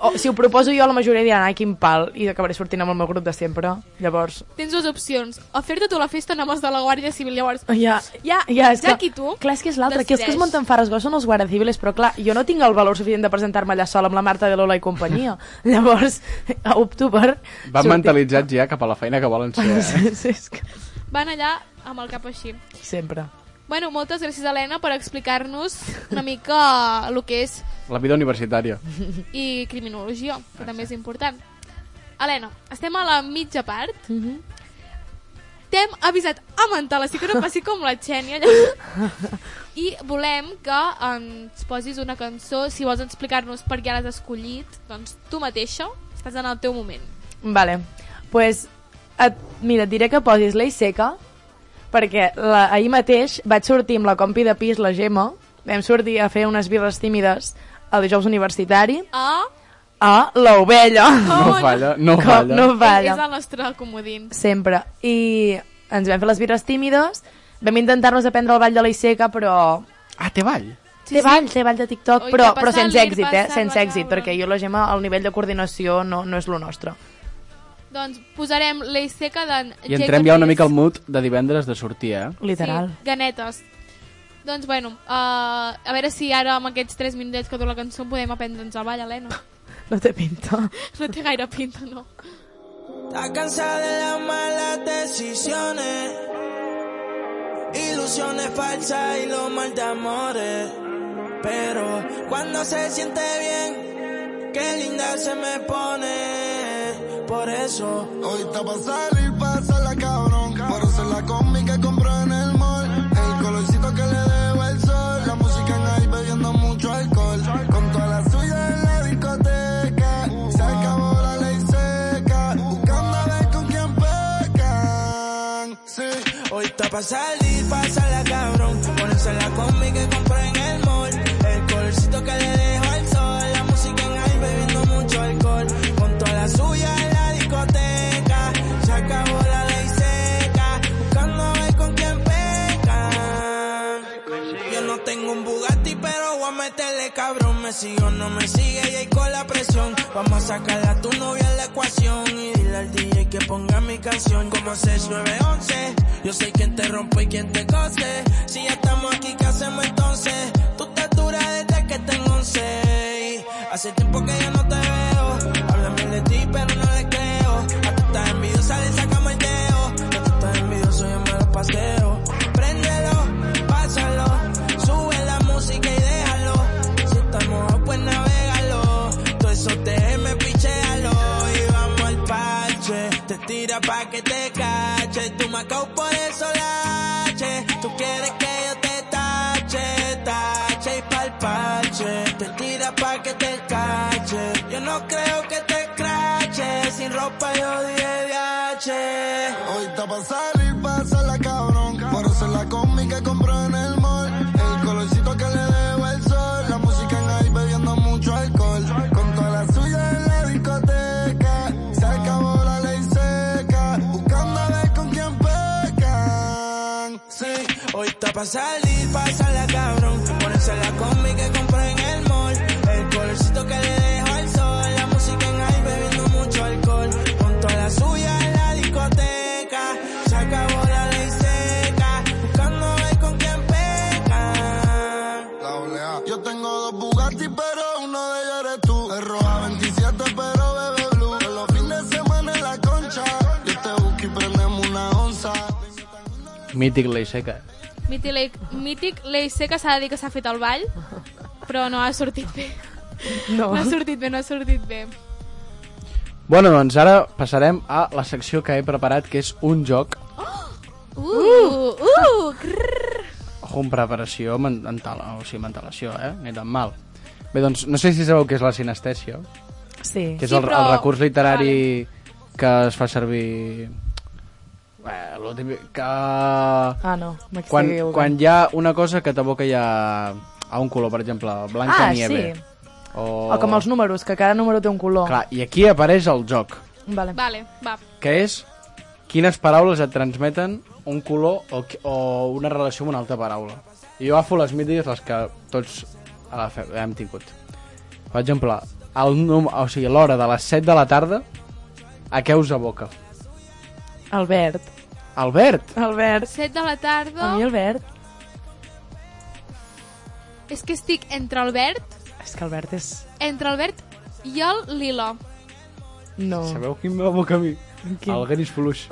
o, si ho proposo jo, la majoria diran, ai, quin pal, i acabaré sortint amb el meu grup de sempre. Llavors, Tens dues opcions. O fer-te tu la festa en homes de la Guàrdia Civil, llavors... Ja, ja, ja, és Ja que, aquí tu clar, és que és l'altre, que els que es decideix. munten farrasgos són els guardaciviles, però clar, jo no tinc el valor suficient de presentar-me allà sola amb la Marta de Lola i companyia. Llavors, opto per... Van mentalitzats ja cap a la feina que volen ser. Eh? Sí, sí, és que... Van allà amb el cap així. Sempre. Bueno, moltes gràcies, Helena, per explicar-nos una mica el que és La vida universitària. i criminologia, que també és important. Helena, estem a la mitja part. Mm -hmm. T'hem avisat a mental, així que no passi com la Xènia. Allà. I volem que ens posis una cançó, si vols explicar-nos per què l'has escollit, doncs tu mateixa estàs en el teu moment. Vale, pues, et, mira, et diré que posis l'Ei Seca, perquè la, ahir mateix vaig sortir amb la compi de pis, la Gemma, vam sortir a fer unes birres tímides al dijous universitari Ah, a l'Ovella. No Oh, no. falla, no Com falla. no falla. és el nostre comodín. Sempre. I ens vam fer les birres tímides, vam intentar-nos aprendre el ball de la Iseca, però... Ah, té ball? Sí, té ball, té ball de TikTok, Oi, però, que però passa sense l'Ir, èxit, eh? passa, Sense va, èxit, cabrón. perquè jo la Gemma, el nivell de coordinació no, no és lo nostre. Doncs posarem l'Ei seca d'en I entrem ja una mica al mood de divendres de sortir, eh? Literal. Sí, ganetes. Doncs bueno, uh, a veure si ara amb aquests 3 minutets que dura la cançó podem aprendre'ns el ball, Helena. No té pinta. No té gaire pinta, no. Está cansada de las malas decisiones, ilusiones falsas y los mal de amores. Pero cuando se siente bien, qué linda se me pone. Por eso Hoy está pa' salir, pasarla cabrón. Por hacer la combi que compró en el mall. El colorcito que le debo el sol. La música en ahí bebiendo mucho alcohol. Con toda la suya en la discoteca. Se acabó la ley seca. Buscando a ver con quién pecan. Sí. Hoy está pa' salir, la cabrón. Ponerse la combi que compré en el mall. El colorcito que le dejo al sol. La música en ahí bebiendo mucho alcohol. Con toda la suya en la discoteca. Se acabó la ley seca. Buscando a ver con quién pecan. Yo no tengo un bu me sigue o no me sigue y ahí con la presión. Vamos a sacar a tu novia en la ecuación y dile al DJ que ponga mi canción. Como 6911, yo soy quien te rompe y quien te cose. Si ya estamos aquí, ¿qué hacemos entonces? Tú te duras desde que tengo 11. y Hace tiempo que yo no te veo. Háblame de ti, pero no le creo. A tú estás envidiosa, le sacamos el dedo. A tú estás envidioso, yo me lo paseo. Préndelo, pásalo. Sube la música y déjalo. Si estás mojado, pues navegalo. Todo eso te me pichéalo. Y vamos al parche. Te tira pa' que te cache. Tú me acabo por eso lache. Tú quieres que yo te tache, tache y pa'l parche. Te tira pa' que te cache. Yo no creo que te crache. Sin ropa yo dije viaje. Hoy está pa' salir, pásala cabrón. Por eso la combi que compró en el mall. El colorcito que le debo el sol. La música en ahí bebiendo mucho alcohol. Con toda la suya en la discoteca. Se acabó la ley seca. Buscando a ver con quién pecan. Sí, hoy está pa' salir, pásala cabrón. Ponerse la combi que compré en el mall. El colorcito que le dejo al sol. La música en ahí bebiendo mucho alcohol. Con toda la suya en la discoteca. Se acabó la ley seca. Buscando ver con quién peca. La olea. Yo tengo dos Bugatti, pero uno de ellos eres tú. El roja 27, pero bebe blue. En los fines de semana en la concha. Yo te busco y prendemos una onza. Mític ley seca. Mític Lei- Mític Lei Seca s'ha de dir que s'ha fet el ball, però no ha sortit bé. No. No ha sortit bé, no ha sortit bé. Bueno, doncs ara passarem a la secció que he preparat, que és un joc Uh, uh, crrr. Ojo, amb preparació men- mental, o sigui, mentalació, eh? Ni tan mal. Bé, doncs, no sé si sabeu què és la sinestèsia, Sí. que és Sí, el, però- el recurs literari que es fa servir... Bé, lo típic, que... Ah, no. m'estic Quan, equivocant. quan hi ha una cosa que t'aboca ja a un color, per exemple, blanca Ah, nieve. sí. O... O com els números, que cada número té un color. Clar, i aquí apareix el joc, Vale. Vale, va. que és quines paraules et transmeten un color o, qui- o una relació amb una altra paraula. I jo agafo les mítiques, les que tots a la fe- hem tingut. Per exemple, el num o sigui, l'hora de les 7 de la tarda, a què us aboca? El verd. El verd! El verd. 7 de la tarda... A mi el verd... És que estic entre el verd, És que el verd és... entre el verd i el lila. No. Sabeu quin m'aboca a mi? Quin? El gris fluix,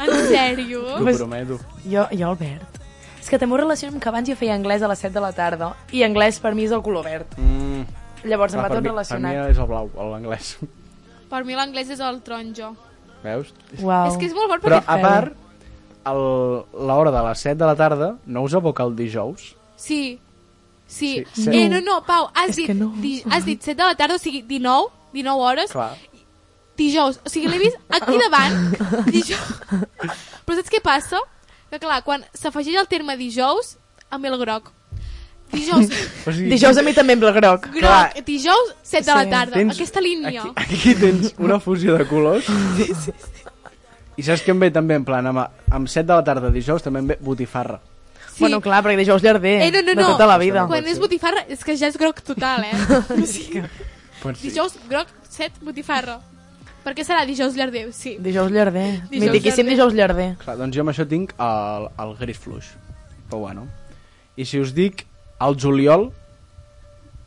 En sèrio? t'ho Pues- prometo. Jo, jo el verd. És que també ho relaciono amb que abans jo feia anglès a les 7 de la tarda i anglès per mi és el color verd. Mm. Llavors em Clar, va tot mi, per mi relacionat. és el blau, l'anglès. Per mi l'anglès és el taronjo. Veus? Uau. És que és molt bon Però perquè... a feu? part, el- l'hora de les 7 de la tarda no us aboca el dijous? Sí, sí. Sí, sí set. eh, no, no, Pau, has És dit, que no. di, has dit 7 de la tarda, o sigui, 19, 19 hores, Clar. dijous. O sigui, l'he vist aquí davant, dijous. Però saps què passa? Que clar, quan s'afegeix el terme dijous, amb el groc. Dijous, groc, O sigui, Dijous a mi també em ve el groc. Clar. dijous, 7 de Sí. la tarda. Aquesta línia. Aquí, aquí tens una fusió de colors. I saps què em ve també, en plan, amb, amb 7 de la tarda dijous també em ve botifarra. Sí. Bueno, clar, perquè dijous llarder. Eh, no, no, de no. tota la vida. Quan és botifarra, és que ja és groc total, eh? Pot Dijous, groc, 7, botifarra. Per què serà dijous llarder? Sí. Dijous llarder. Dijous Mitiquíssim llarder. dijous llarder. Clar, doncs jo amb això tinc el, el gris fluix. Però bueno. I si us dic el juliol,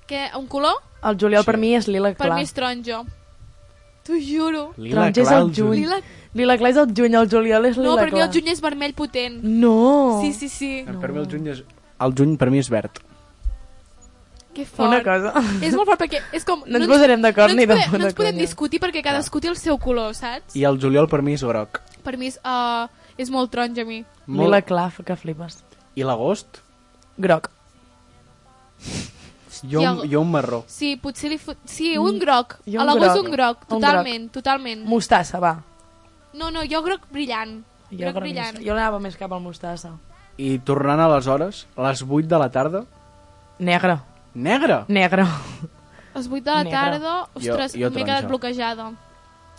Que, un color? El juliol Sí. per mi és lila Per clar. mi és taronjo. T'ho juro. lila Taronja és clar, el juny. Lila... Lila clar és el juny, el juliol és lila No, per mi clar. el juny és vermell potent. No. Sí, sí, sí. No. Per mi el juny és... El juny per mi és verd. Que fort. Una cosa. És molt fort perquè és com... No ens posarem d'acord no ni ens de podem- puta No ens podem conya. discutir perquè cadascú té el seu color, saps? I el juliol per mi és groc. Per mi és, uh, és molt taronja a mi. Molt... Lila clar, que flipes. I l'agost? Groc. Jo, I el- jo un marró. Sí, potser li fot... Sí, un groc. jo a Mm. un l'agost groc. un groc. Un Totalment, totalment. Mustassa, va. No, no, jo groc brillant. Jo, groc groc brillant. jo anava més cap al mustassa. I tornant a les hores, a les 8 de la tarda, Negre. negre. Negre. A les 8 de la Negre. tarda, Jo- ostres, jo m'he quedat taronja. bloquejada.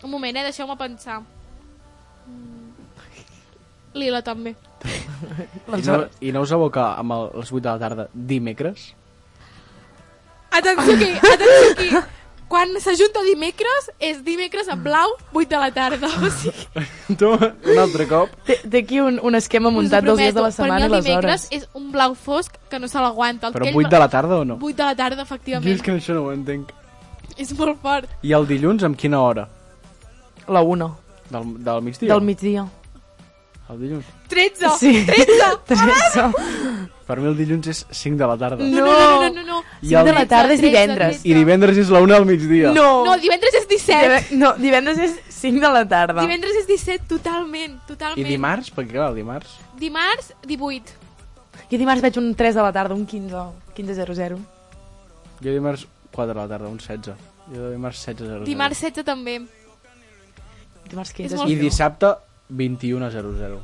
Un moment, eh, deixeu-me pensar. Mm. Lila també. Doncs I no, I no us aboca amb el, les 8 de la tarda dimecres? Atenció aquí, atenció aquí. Quan s'ajunta dimecres, és dimecres en blau, 8 de la tarda. O sigui, tu, un altre cop. Té, té aquí un, un esquema us ho muntat dels dies de prometo, la setmana per i mi el les dimecres hores. és un blau fosc que no se l'aguanta. El Però que ell 8 de la tarda o no? 8 de la tarda, Jo efectivament. és que això no ho entenc. És molt fort. I el dilluns amb quina hora? La 1, Del, del migdia? del migdia. El dilluns. 13! Sí. 13! Teresa. Per mi el dilluns és 5 de la tarda. No, no, no, no, no. no. I el- de la tarda és 13, divendres. 13. I divendres és la 1 del migdia. No. No, divendres és 17. Dive- no, divendres és 5 de la tarda. Divendres és 17, totalment, I totalment. dimarts? Perquè clar, el dimarts... Dimarts, 18. Jo dimarts veig un 3 de la tarda, un 15, 15.00. Jo dimarts 4 de la tarda, un 16. Jo dimarts 16 00. Dimarts 16 també. Dimarts 15. És molt I dissabte 21 00.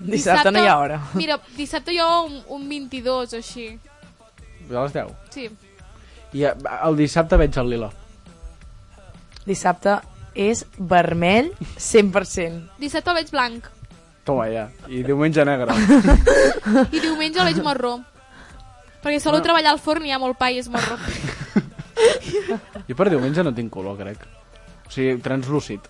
Dissabte, dissabte no hi ha hora. Mira, dissabte jo un, un 22 o així. A les 10. Sí. I eh, el dissabte veig el lila. Dissabte és vermell 100%. Dissabte el veig blanc. Toma ja. I diumenge negre. I diumenge el veig marró. Perquè solo Bueno. treballar al forn i hi ha molt pa i és marró. jo per diumenge no tinc color, crec. O sigui, translúcid.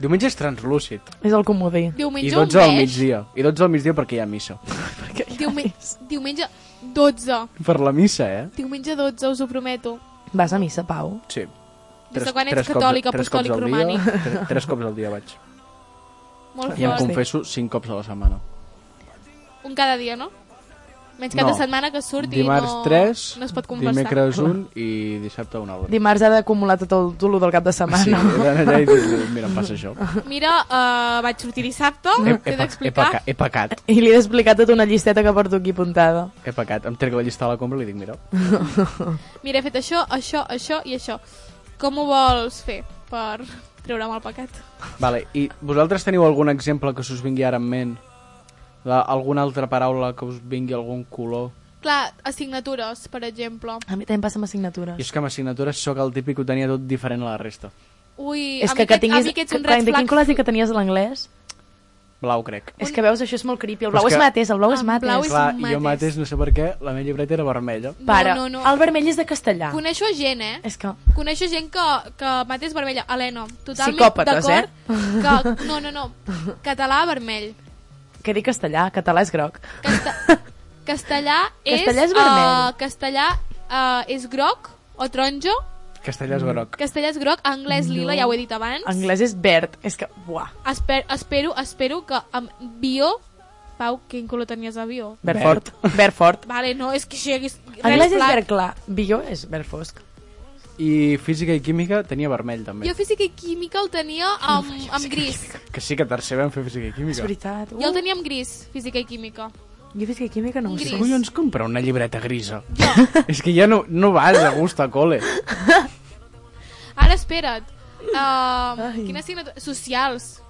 Diumenge és translúcid. És el comodí. I Diumenge 12 al un beige. migdia. I 12 al migdia perquè hi ha missa. Diumenge, diumenge 12. Per la missa, eh? Diumenge 12, us ho prometo. Vas a missa, Pau? Sí. Des de quan ets catòlic, tres cops apostòlic, al romànic? Dia, tres, tres cops al dia vaig. Molt I em fort. confesso cinc cops a la setmana. Un cada dia, no? Menys cada No. setmana que surt Dimarts i no, 3, no es pot confessar. dimecres 1 i dissabte 1 altra. Dimarts ha d'acumular tot el dolor del cap de Sí, setmana. he d'anar allà i dir, mira, em passa això. Mira, uh, vaig sortir dissabte, He, he, t'he pe- he, d'explicar. peca, he pecat, I li he d'explicar tota una llisteta que porto aquí apuntada. he pecat. Em trec la llista de la compra i li dic, mira, Mira, he fet això, això, això i això. Com ho vols fer per treure'm el pecat? Vale, i vosaltres teniu algun exemple que se us vingui ara en ment? La, alguna altra paraula que us vingui algun color? Clar, assignatures, per exemple. A mi també passa amb Jo assignatures. és que amb assignatures sóc el típic que ho tenia tot diferent a la resta. Ui, És a, que, mi que a tinguis... mi que ets un clar, red de quin flag. color has dit que tenies l'anglès? Blau, crec. És que veus, això és molt creepy. El blau Però és és que- mates, el blau és En mates. blau és- Clar, Eh, un jo mateix. mateix, no sé per què, la meva llibreta era vermella. Pare, No, no, no. el vermell és de castellà. Coneixo gent, eh? És que... Coneixo gent que, que mata és vermella. Helena, totalment Psicòpates, d'acord. Eh? Que, no, no, no. Català, vermell. Què dic castellà? Català és groc. Casta castellà és... Castellà és vermell. eh, castellà eh, és groc o taronjo. Castellà és Mm. groc. Castellà és groc, anglès lila, ja ho he dit abans. Anglès és verd. És que, buah, Esper espero, espero que amb bio... Pau, quin color tenies a bio? verd, fort. Verd fort. Vale, no, és que si hi hagués... Anglès red és flag. verd clar. Bio és verd fosc. I física i química tenia vermell, també. Jo física i química el tenia amb, amb gris. Que sí que a tercer vam fer física i És química. veritat. Uh, Jo el tenia amb gris, física i química. jo física i química no ho Gris. sé. Què collons compra una llibreta grisa? és que ja no, no vas a gust a col·le. Ara, espera't. Uh, quina assignatura? Socials.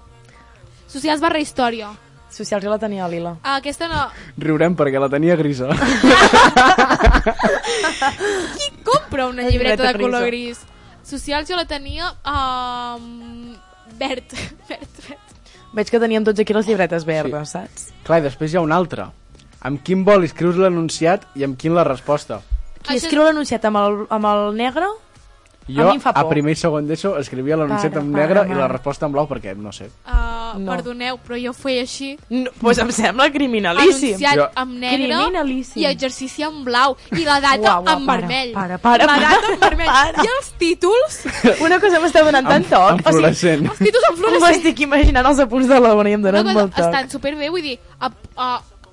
Socials barra història. Socials jo la tenia a lila. Ah, aquesta no... Riurem perquè la tenia grisa. Qui compra una La llibreta llibreta de grisa. color gris? Socials jo la tenia... Um, verd, verd, verd. Veig que teníem tots aquí les llibretes verdes, saps? Ah, Clar, i després hi ha una altra. Amb quin vol escrius l'anunciat i amb quin la resposta? Qui Això- escriu l'anunciat amb, el, amb el negre? Jo, mi em fa a por. primer i segon d'ESO, escrivia l'anunciat Pare, en pare, negre i mare. la resposta en blau perquè, no sé. Uh, No. Perdoneu, però jo ho feia així. No, pues em sembla criminalíssim. Mm. anunciat Jo- amb negre Criminalíssim. i exercici en blau i la data Uau, uau, en para, vermell. para, para, la para, data en vermell. para. I els títols? Una cosa m'està donant tant toc. en fluorescent. Els títols en O sigui, fluorescent. m'estic imaginant els apunts de la bona i em donen molt toc. estan superbé, vull dir... A, a,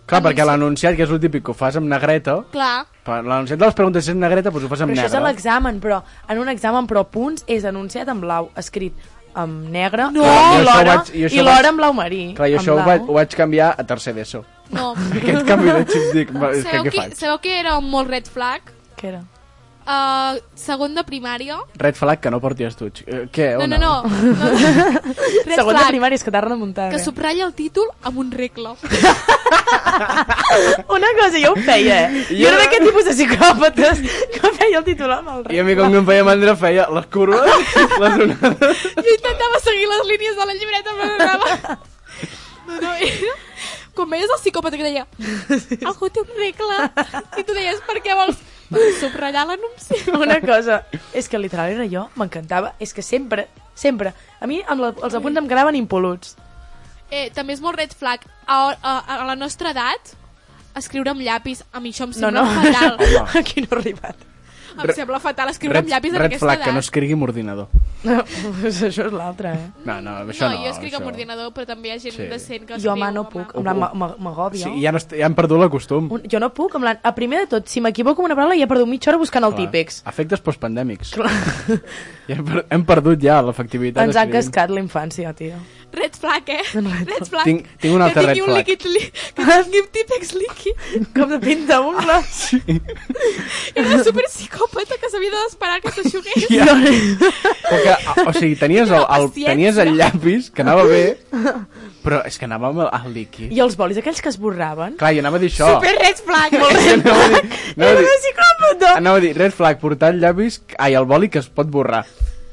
Clar, perquè anunci- l'anunciat, que és el típic que ho fas amb negreta, Clar, per- l'anunciat de les preguntes és en negreta, doncs ho fas Però amb això és a negre. l'examen, però en un examen, però punts, és anunciat en blau, escrit en negre, No! i Jo això l'hora vaig- jo això i l'hora vaig- en blau marí. Clar, i en això ho blau. vaig, ho vaig canviar a tercer d'ESO. no. Aquest canvi de xip, dic, va, és que sabeu, què que, faig? sabeu que era un molt red flag? Què era? Uh, segon de primària. Red flag que no porties tu. xic. Eh, Què, No, on? no, no. no. red Segon de flag. primària, és que t'ha remuntat. que subratlla el títol amb un regle. Una cosa, jo ho feia, eh? Jo, Jo- era d'aquest tipus de psicòpates que feia el titular amb el I rei. a mi com que em feia mandra feia les curves, les onades... Jo intentava seguir les línies de la llibreta, però no anava. No, eh? no, era... Com veies el psicòpata que deia, algú té un regle, i tu deies, per què vols... Subratllar l'anunci. Una cosa, és que literal era jo, m'encantava. És que sempre, sempre. A mi amb la, els apunts em quedaven impoluts. Eh, també és molt red flag. A, a, a la nostra edat, escriure amb llapis, a mi això em No, sembla no, fatal. aquí no he arribat. Em sembla fatal escriure amb llapis en red aquesta flag, edat. que no escrigui amb ordinador. No, pues això és l'altre, eh? No, no, això no. jo escric amb això. ordinador, però també hi ha gent Sí. decent que escriu. Jo, home, no puc. En plan, m'ag- m'agòbia. Sí, ja, no, est- ja hem perdut el costum. Un- Jo no puc, en plan, a primer de tot, si m'equivoco amb una paraula ja he perdut mitja hora buscant el Clar. típex. Efectes postpandèmics. Clar. Ja hem, per hem perdut ja l'efectivitat. Ens han d'escrivint. cascat la infància, tio. Red flag, eh? Red flag. Tinc- tinc un altre que red tingui un flag. líquid li... Que tingui un típex líquid. Com de pinta un glas. Era una superpsicòpata que s'havia d'esperar que s'aixugués. Ja. Però que, o- o sigui, tenies el, el, Paciència. tenies el llapis, que anava bé, però és que anava amb el, el líquid. I els bolis aquells que es borraven? Clar, jo anava a dir això. Super red flag. És que anava a dir, anava Era a una dir, psicòpata! anava a dir red flag, portar el llapis, ai, el boli que es pot borrar.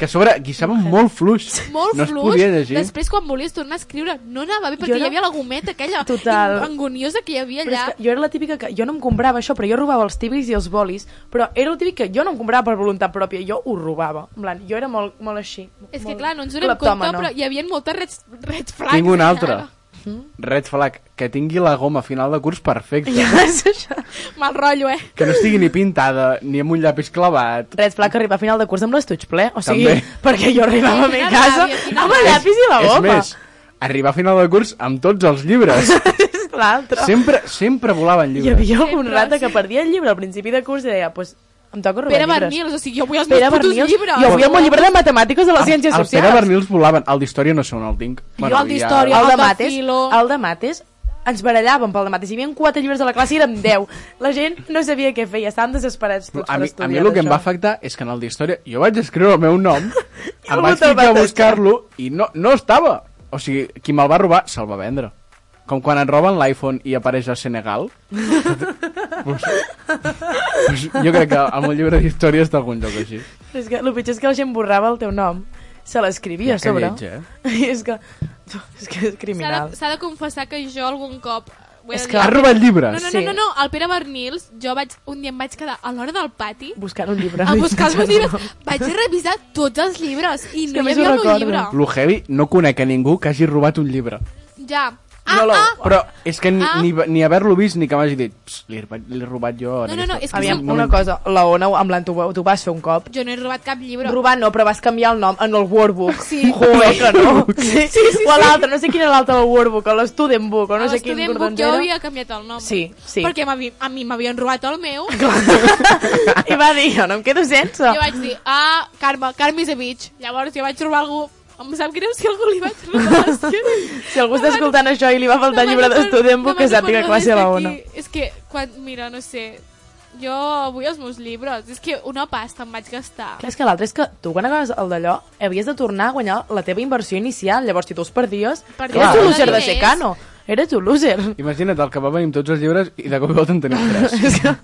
Que a sobre guissava molt fluix. molt no fluix. No es podia llegir. Després, quan volies tornar a escriure, no anava bé, Jo perquè hi no- havia la gometa aquella Total. angoniosa que hi havia Però allà. és que jo era la típica que... Jo no em comprava això, però jo robava els típics i els bolis, però era el típic que jo no em comprava per voluntat pròpia, jo ho robava. En plan, jo era molt, molt així. És que, molt clar, no ens donem compte, cleptòmana. però hi havia moltes red, red flags. Tinc un altre. Ara. Red flag, que tingui la goma final de curs perfecta. Ja és això. Mal rotllo, eh? Que no estigui ni pintada, ni amb un llapis clavat. Red flag arribar a final de curs amb l'estuig ple, o sigui, També. perquè jo arribava a mi a Quina casa ràbia, quina amb el ràbia. llapis i la És goma. més, arribar a final de curs amb tots els llibres. És l'altre. Sempre, sempre volaven Hi llibres. havia algun Sempre, rata que sí. perdia el llibre al principi de curs i deia, pues, em toca robar Pere llibres. Bernils, o sigui, jo vull els Pere meus putos Bernils. llibres. Jo vull el meu llibre de matemàtiques de les ciències el, socials. El Pere Bernils volaven. El d'història no sé on el tinc. el d'història. el el de de mates, filo. el de mates, ens barallàvem pel de mates. Hi havia quatre llibres a la classe i érem 10. La gent no sabia què feia, estàvem desesperats tots A per mi, a estudiar. mi el que em d'això. va afectar és que en el d'història jo vaig escriure el meu nom, em algú vaig te'l va ficar a tastar. buscar-lo i no, no estava. O sigui, qui me'l va robar se'l va vendre. Com quan et roben l'iPhone i apareix a Senegal. pues, pues, jo crec que el meu llibre d'història està a algun lloc així. Però És que el pitjor és que la gent borrava el teu nom. Se l'escrivia Ja, a que sobre. lleig, eh? I és que... És que és S'ha criminal. de, s'ha de confessar que jo algun cop... ho he És de que dir. Has robat No, llibres? no, Sí. no, no, no, el Pere Bernils, jo vaig, un dia em vaig quedar a l'hora del pati Buscant un llibre. a buscar els meus llibres. Vaig revisar tots els llibres i que a no hi més ho havia el meu recordo. llibre. Lo heavy, no conec a ningú que hagi robat un llibre. Ja. Ah, No, no. ah, Però és que ni, Ah. ni, ni haver-lo vist ni que m'hagi dit "Ps, l'he robat- l'he robat jo. No, no, no, és que Aviam, som- una cosa, la Ona amb l'Anto ho- t'ho vas fer un cop. jo no he robat cap llibre. Robar no, però vas canviar el nom en el workbook. Sí. Joder, que no. Sí, sí, sí, o a l'altre, no sé quin era l'altre del workbook, o l'student book, o no sé quin Student Book cordons jo era. havia canviat el nom. Sí, sí. Perquè m'havi- a mi m'havien robat el meu. I va dir, jo no em quedo sense. Jo vaig dir, ah, Carme, Carme is a bitch. Llavors jo vaig trobar algú... Em sap greu si algú li vaig robar els llibres. Si algú està escoltant això i li va faltar llibre d'estudent book, que sàpiga que va ser la Ona. És que, quan, mira, no sé, jo vull els meus llibres. És que una pasta em vaig gastar. Clar, és que l'altre és que tu quan acabes el d'allò havies de tornar a guanyar la teva inversió inicial, llavors si tu els perdies, Perdies eres un tots loser els de diners. secano. Eres un loser. Imagina't el que va venir amb tots els llibres i de cop i volta en tenim tres. és que... Eh,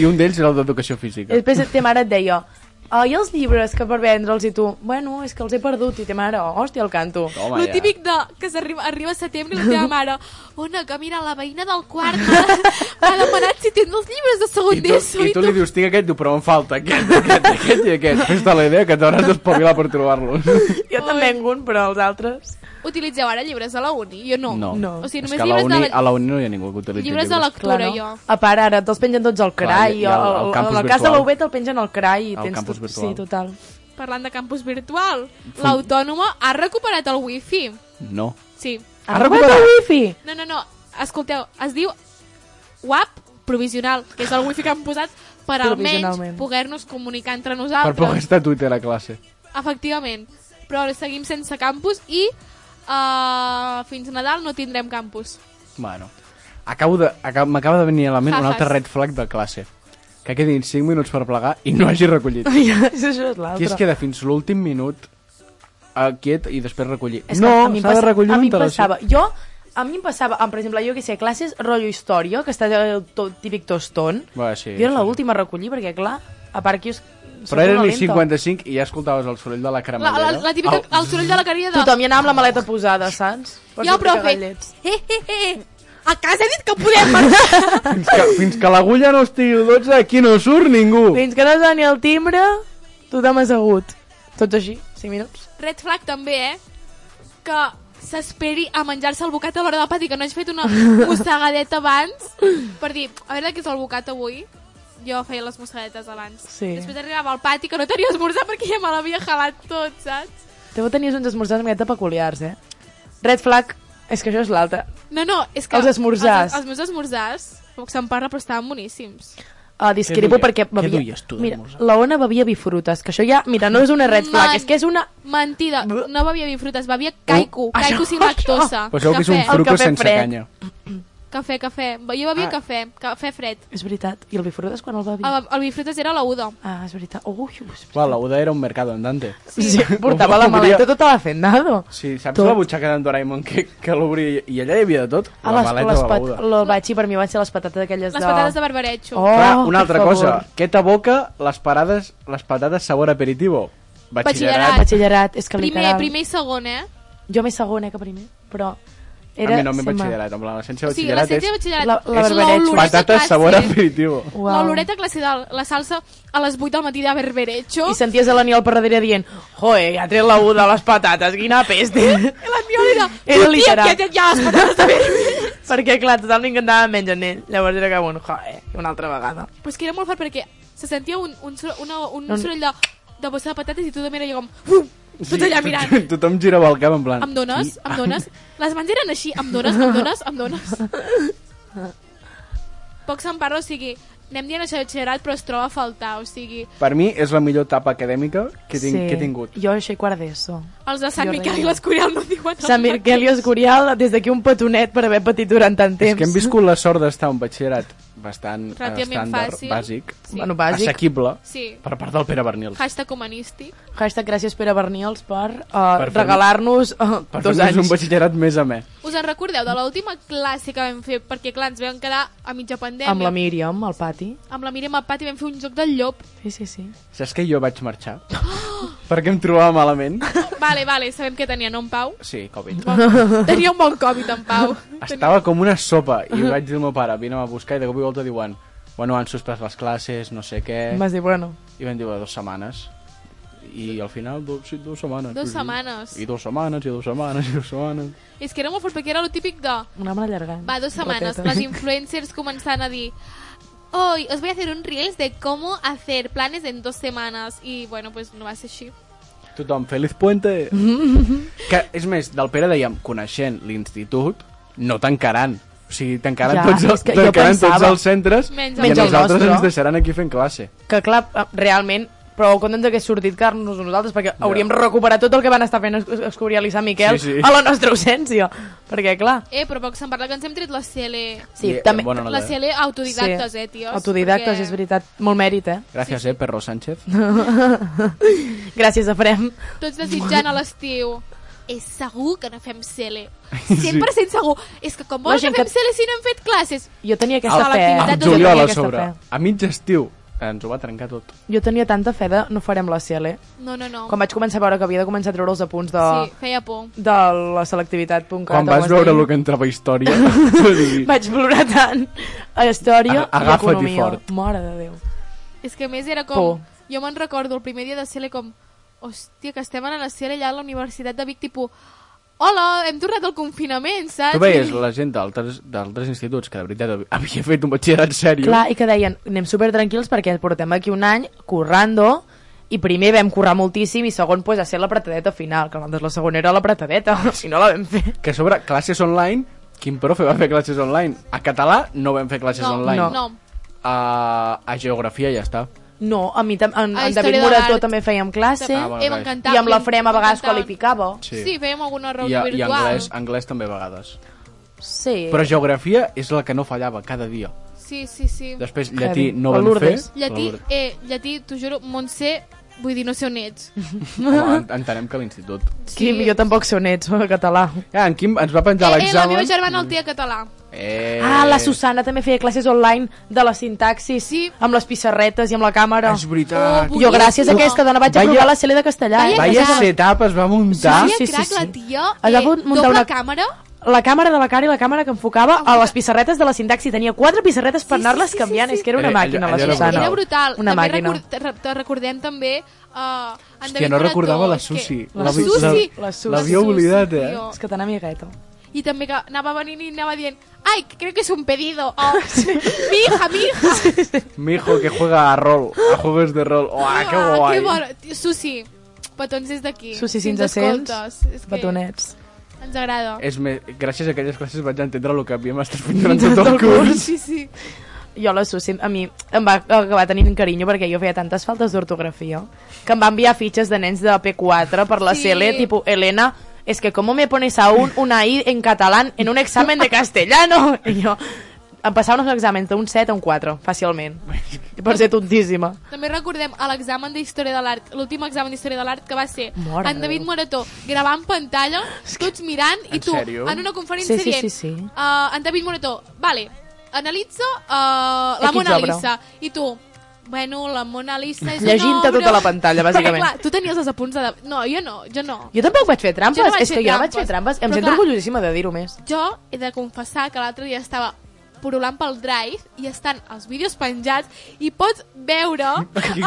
I un d'ells era el d'educació física. Després ta mare et deia, oh, i els llibres que per vendre'ls i tu, bueno, és que els he perdut, i ta mare, oh, hòstia, el canto. Home, Lo ja. típic de que s'arriba arriba a setembre i la teva mare Ona, que mira, la veïna del quart m'ha m'ha demanat si tens els llibres de I segon tu, d'ESO I tu li dius, tinc aquest, diu, però em falta aquest, aquest, aquest i aquest. Fes-te la idea que t'hauràs d'espavilar per trobar-los. Jo també en un, però els altres... Utilitzeu ara llibres a la uni? Jo no. No. O sigui, és només que a la, llibres uni, de, a la uni no hi ha ningú que utilitzi llibres de lectura, jo. A part, ara te'ls pengen tots al crai, i- i al- al o- o- en campus el cas de la virtual. UB te'l pengen al crai. I Al tens campus tot- virtual. Sí, total. Parlant de campus virtual, l'autònoma ha recuperat el wifi. No. Sí. Ha recuperat el wifi! No, no, no. Escolteu, es diu WAP provisional, que és el wifi que han posat per almenys Provisionalment. poder-nos comunicar entre Per nosaltres. poc estar a Twitter a classe. Efectivament. Però ara seguim sense campus i uh, fins Nadal no tindrem campus. Bueno. Acabo de, acab, M'acaba de venir a la ment un Jafes. altre red flag de classe. Que quedin 5 minuts per plegar i no hagi recollit. Ja, Això és l'altre. Qui es queda fins l'últim minut eh, quiet i després recollir? És que a no, mi em s'ha de passa- recollir a mi em mentre les- passava. Jo, a mi em passava, em, per exemple, jo que sé, classes, rotllo història, que està el to, típic tostón. Va, sí, jo era sí, l'última a recollir, perquè, clar, a part que jo... soc Però eren una les lenta. 55 i ja escoltaves el soroll de Ah. la La, cremallera. la, la típica, El... el soroll de "Eh, la carilla de... Tothom hi anava amb la maleta posada, saps? Ja, sortir profe. cagallets. Eh, eh, eh. A casa he dit que podem marxar. Fins que, fins que l'agulla no estigui al 12, aquí no surt ningú. Fins que no es doni el timbre, tothom assegut. Tots així, 5 minuts. Red flag també, eh? Que s'esperi a menjar-se el bocat a l'hora del pati, que no has fet una mossegadeta abans per dir, a veure què és el bocat avui. Jo feia les mossegadetes abans. Sí. Després arribava al pati, que no tenia esmorzar perquè ja me l'havia jalat tot, saps? Deu tenir uns esmorzars una miqueta peculiars, eh? Red flag, és que això és l'altre. No, no, és que... Els esmorzars. Els, els meus esmorzars, poc se'n parla, però estaven boníssims. Uh, discrepo duia- perquè què bevia... duies tu mira, d'esmorzar? la Ona bevia bifrutes, que això ja, mira, no és una red flag, Man. és que és una... Mentida, no bevia bifrutes, bevia caico, Oh, això- caico sin lactosa. Pues que és un Cafè. fruit. fruco cafè sense fred. canya. Cafè, cafè. Jo bevia Ah. cafè, cafè fred. És veritat. I el bifrutes quan el Ah, bevia? El, el bifrutes era la Udo. Ah, és veritat. Ui, és veritat. Clar, la Uda era un mercado andante. Sí, portava la Obria- maleta tota la fendado. Sí, saps Tot. la butxaca d'en Doraemon que, que l'obria i allà hi havia de tot? Ah, la les, maleta les de la pat... Uda. Lo batxi per mi van ser les patates aquelles Les de... patates de barbaretxo. Oh, Clar, una altra per favor. cosa. Què t'aboca les, parades, les patates sabor aperitivo? Batxillerat. Batxillerat, és que primer, literal. primer i segon, eh? Jo més segon, eh, que primer. Però Era, era... a mi no m'he se'm va- batxillerat, en plan, l'essència O de sigui, la batxillerat ciència de és batxillerat La- la és barbaretxo. l'oloreta patates classe. sabor aperitivo. Uau. L'oloreta classe de la salsa a les 8 del matí de barbaretxo. I senties a l'Aniol per darrere dient Joe, ha tret la U de les patates, quina peste. I la mia era... Era literal. Tia, que ja les patates de barbaretxo. Perquè, clar, tothom li encantava menys en ell. Llavors era com un, joe, una altra vegada. Però és que era molt fort perquè se sentia un, un, sor- una, un Un- soroll de, de bossa de patates i tothom era allò com... "Uf", Tots allà mirant. Tothom, tothom girava el cap en plan... Em dones? "Sí". Em dones? Les mans eren així, em dones, em dones, em dones. Poc se'n parla, o sigui, anem dient això de batxillerat, però es troba a faltar, o sigui, Per mi és la millor etapa acadèmica que, tinc, Sí. que he tingut. Jo això i quart d'ESO. els de Sant Jo Miquel reia. i l'Escorial no diuen... el Sant Miquel i Escorial, des d'aquí un petonet per haver patit durant tant temps. És que hem viscut la sort d'estar a un batxillerat bastant Relativament estàndard, fàcil. bàsic, Sí. Bueno, bàsic. assequible, Sí. per part del Pere Bernils. Hashtag humanístic. Hashtag gràcies Pere Bernils per, uh, fer-nos- regalar-nos uh, Per dos fer-nos anys. un batxillerat més amè. Us en recordeu de l'última classe que vam fer? Perquè, clar, ens vam quedar a mitja pandèmia. Amb la Míriam, al pati. amb la Míriam al pati vam fer un joc del llop. Sí, sí, sí. Saps que jo vaig marxar? Perquè em trobava malament? Vale, vale, sabem que tenia, no, en Pau? Sí, Covid. Bon, tenia un bon Covid, en Pau. Estava com una sopa i vaig dir al meu pare, vine'm a buscar i de cop i volta diuen bueno, han suspès les classes, no sé què Em vas dir, bueno, i van dir, "Bueno, dues setmanes i al final, do, sí, dues setmanes Dues Sí, sí. setmanes. i dues setmanes, i dues setmanes, i dues setmanes És que era molt fort, perquè era el típic de... anàvem allargant. Va, dos setmanes, Roteta. las influencers començan a dir Hoy os voy a hacer un reels de cómo hacer planes en dos semanas. Y bueno, pues no va ser així. tothom, Feliz Puente que, és més, del Pere dèiem coneixent l'institut, no tancaran o sigui, tancaran, Ja, tots, és els, que jo tancaran tots pensava- els centres Menys i el a nosaltres nostre. ens deixaran aquí fent classe Que clar, eh, realment, prou contents hagués sortit car-nos nosaltres, perquè hauríem recuperat tot el que van estar fent es- Escorial i Sant Miquel Sí, sí. a la nostra ausència. Perquè, clar, Eh, però poc se'n parla que ens hem tret la E. CL... sí, I, eh, també... bona nota, La eh? CL autodidactes, eh, tios? Autodidactes, és veritat. Molt mèrit, eh? gràcies, eh, Perro Sánchez Gràcies, Efrem. Tots desitjant a l'estiu és segur que no fem CL. 100% segur. És que com La vols que gent fem que- CL si no hem fet classes? Jo tenia aquesta Ah, fe. eh? l'activitat al Nosaltres Jo juliol tenia a aquesta sobre, fe. a mig estiu ens ho va trencar tot Jo tenia tanta fe de no farem la CL. No, no, no. Quan vaig començar a veure que havia de començar a treure els apunts de, Sí, feia por. de la selectivitat.cat. Quan o vas es veure deia. el que entrava a història, vull dir, Vaig plorar tant a història A- agafa't i i economia. fort. Mare de Déu. És que a més era com... Por. Jo me'n recordo el primer dia de CL com... Hòstia, que estem anant a CL allà a la Universitat de Vic, tipus... Hola, hem tornat al confinament, saps? tu veies I- la gent d'altres d'altres instituts que de veritat hav- havia fet un batxillerat sèrio. Clar, i que deien, anem super tranquils perquè portem aquí un any currando i primer vam currar moltíssim i segon pues, a ser la pretadeta final, que nosaltres la segona era la pretadeta, si no la vam fer. Que a sobre classes online, quin profe va fer classes online? A català no vam fer classes No, online. no. no. A, a geografia ja està. No, a mi tam- en, A en història David de Morató l'art. també fèiem classe Ah, bueno, eh, guys. m'encantava. i amb la Frem a vegades M'encantava. qualificava. Sí. fèiem alguna I, reunió a, i virtual. anglès, anglès també a vegades. Sí. Però geografia és la que no fallava cada dia. Sí, sí, sí. Després Heavy. llatí no O van fer. Lourdes. Llatí, Lourdes. eh, llatí, t'ho juro, Montse, vull dir, no sé on ets. Home, en- entenem que a l'institut. Quim, jo tampoc sé on ets, en català. Ah, en Quim ens va penjar Eh, eh, la l'examen. meva germana el té a català. Eh, Ah, la Susana també feia classes online de la sintaxi, Sí. amb les pissarretes i amb la càmera. És veritat. Oh, Jo gràcies a Boníssim. aquesta dona vaig Vaya- aprovar la CL de castellà. Vaya- eh? Vaya Exacte. setup es va muntar. Sí, sí, crac, sí. la tia, Es va eh, muntar doble una- càmera, la càmera de la cara i la càmera que enfocava a les pissarretes de la sintaxi. Tenia quatre pissarretes per anar-les canviant. És que era una Era- màquina, allò- la allò era Susana. Era brutal. Ah, Una també màquina. record- te- te recordem també... Uh, en Hòstia, no recordava la Susi. Que... La, La Susi! Susi. la- La Susi. La Susi, L'havia oblidat, eh? tio. És que tan amigueta. I també que anava venint i anava dient «Ai, que crec que és un pedido!» o «Mi hija, mi hija!» Mi hijo que juega a rol, a juegos de rol. Oh, ¡Uah, qué Ah, guay! Que bona. Tio, Susi, petons des d'aquí. Susi, si ens ens sents, escoltes, és que Batonets. Ens agrada. És me... Gràcies a aquelles classes vaig entendre el que havíem estat fent durant tot el curs. Sí, sí. Jo la Susi, a mi, em va acabar tenint carinyo perquè jo feia tantes faltes d'ortografia que em va enviar fitxes de nens de P4 per la Sí. CL, tipo, Elena, es que como me pones a un, una I en catalán en un examen de castellano? I jo, em passaven els exàmens d'un 7 a un 4, fàcilment. Per ser tontíssima. També recordem a l'examen d'Història de l'Art, l'últim examen d'Història de l'Art que va ser Mare en de David Déu. Morató gravant pantalla, tots mirant i En tu sèrio? en una conferència Sí, sí, dient sí, sí. "Ah, en David Morató, vale, analitza uh, la X Mona obra. Lisa i tu Bueno, la Mona Lisa és Llegint-te una obra... tota la pantalla, bàsicament. Perquè, clar, tu tenies els apunts de... No, jo no, jo no. Jo tampoc vaig fer trampes, Jo no vaig és fer que jo no vaig fer trampes. trampes, Em però sento clar- orgullosíssima de dir-ho més. Jo he de confessar que l'altre dia estava porulant pel Drive i estan els vídeos penjats i pots veure Quin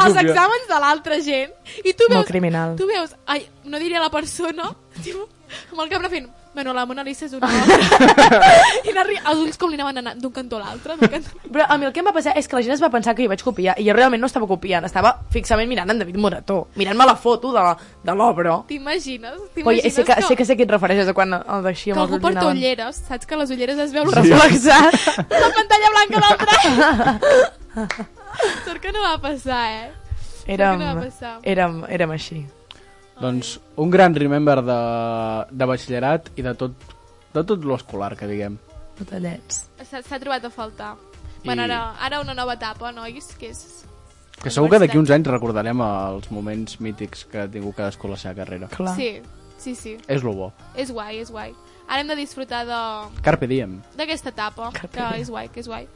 els copiar. exàmens de l'altra gent i tu Molt veus, criminal. tu veus ai, no diria la persona tio, amb el cap fent bueno, la Mona Lisa és una obra i anar, els ulls com li anaven anant d'un cantó a l'altre d'un cantó... Però a mi el que em va passar és que la gent es va pensar que jo vaig copiar i jo realment no estava copiant, estava fixament mirant en David Morató, mirant-me la foto de la- de l'obra. t'imagines? Però t'imagines sé que, sé que sé a qui et refereixes a quan el que d'així amb els algú ulls porta anaven ulleres saps que les ulleres es veu el reflexats. la pantalla blanca del Drive sort que no va passar eh Érem, Què va passar? érem, érem així. Doncs un gran remember de, de batxillerat i de tot, de tot l'escolar, que diguem. Botellets. S'ha s'ha trobat a faltar. I... I- Bueno, ara, ara una nova etapa, nois, que és... Que segur que d'aquí uns anys recordarem els moments mítics que ha tingut cadascú a la seva carrera. Clar. Sí. Sí, sí, sí. És lo bo. És guai, és guai. Ara hem de disfrutar de- Carpe diem. d'aquesta etapa, Carpe que diem. és guai, que és guai.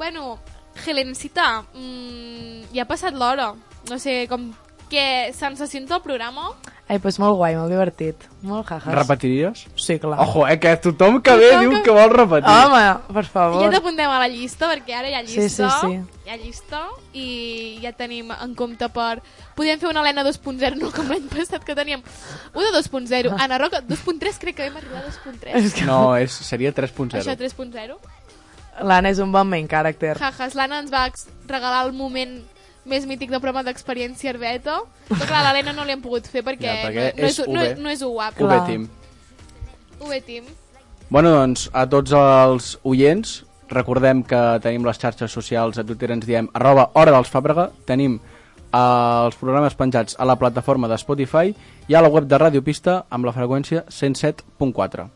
Bueno, Helencita, mmm, ja ha passat l'hora. No sé, com... Que sensacions del programa? Ai, doncs molt guai, molt divertit. Molt jajas. Repetiries? Sí, clar. Ojo, eh, que tothom que ve Tothom diu que- que vol repetir. Home, per Ja favor. t'apuntem a la llista, perquè ara hi ha Sí, llista. sí, sí. Hi ha llista i ja tenim en compte per... Podríem fer una Helena 2.0, no com l'any passat que teníem. Una 2.0, Ana Roca 2.3, crec que vam arribar a 2.3. Ah. És que No, és, seria 3.0. Això 3.0. l'Anna és un bon main character. Jajas, l'Anna ens va ex- regalar el moment més mític de programa d'experiència herbeta. Però clar, a l'Helena no li hem pogut fer perquè, Ja, perquè no, no, és, és no, UB. no és UAP. Ho Clar. vetim. UB Team. Bueno, doncs, a tots els oients, recordem que tenim les xarxes socials, a Twitter ens diem arroba Hora dels Fàbrega, tenim eh, els programes penjats a la plataforma de Spotify i a la web de Radio Pista amb la freqüència 107.4.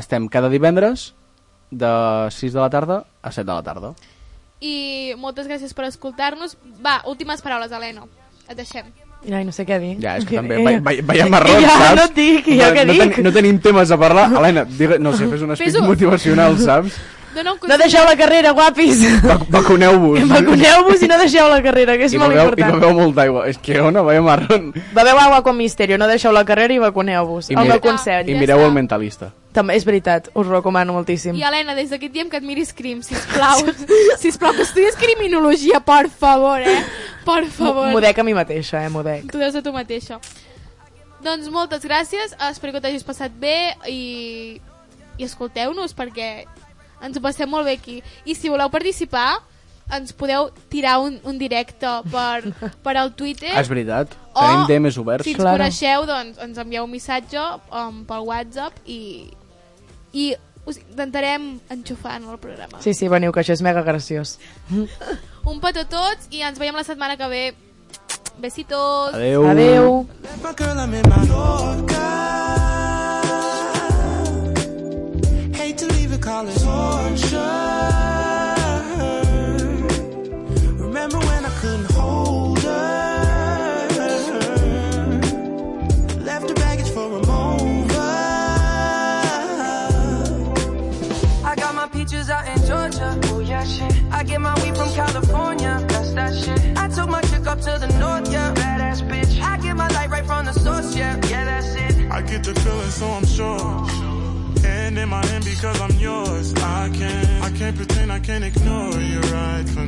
Estem cada divendres de 6 de la tarda a 7 de la tarda. I moltes gràcies per escoltar-nos. Va, últimes paraules, Helena. Et deixem. Ai, no sé què dir. Ja, és que també Eh, vai- vai- veiem errors, ja, saps? no et dic, ja No- què no, dic? ten- no tenim temes a parlar. Helena, digue, no sé, fes un speech Fes-ho. motivacional, saps? Dona un No deixeu la carrera, guapis! Vac- Vacuneu-vos. Vacuneu-vos i no deixeu la carrera, que és I molt beveu, I important. beveu molta aigua. És que ona, vaya marrón. Beveu agua con misterio, no deixeu la carrera i vacuneu-vos. I El mira- meu consell. I Ja mireu està. el mentalista. També és veritat, us recomano moltíssim. I Helena, des d'aquí et diem que et miris crim, sisplau. sisplau, que estudies criminologia, per favor, eh? Per favor. M'ho dec a mi mateixa, eh, m'ho dec. Tu deus a tu mateixa. Doncs moltes gràcies, espero que t'hagis passat bé i, i escolteu-nos perquè ens ho passem molt bé aquí. I si voleu participar, ens podeu tirar un, un directe per, per al Eh? Twitter. És veritat. O- Tenim DMs oberts. Si ens Claro. coneixeu, doncs ens envieu un missatge um, pel WhatsApp i, i us intentarem enxufar en el programa. Sí, sí, veniu, que això és mega graciós. Un petó a tots i ens veiem la setmana que ve. Besitos! Adeu. Adeu. Left my girl, I'm in Mallorca. Hate to leave it, call it torture. Remember when I couldn't hold her? Left her baggage for a mover. I got my peaches out in Georgia. Oh yeah, shit. I get my weed from California. That's that shit. I took my chick up to the north, yeah. Badass bitch. I get my light right from the source, yeah. Yeah, that's it. I get the feeling, so I'm sure. hand in my hand because I'm yours. I can't, I can't pretend, I can't ignore you right from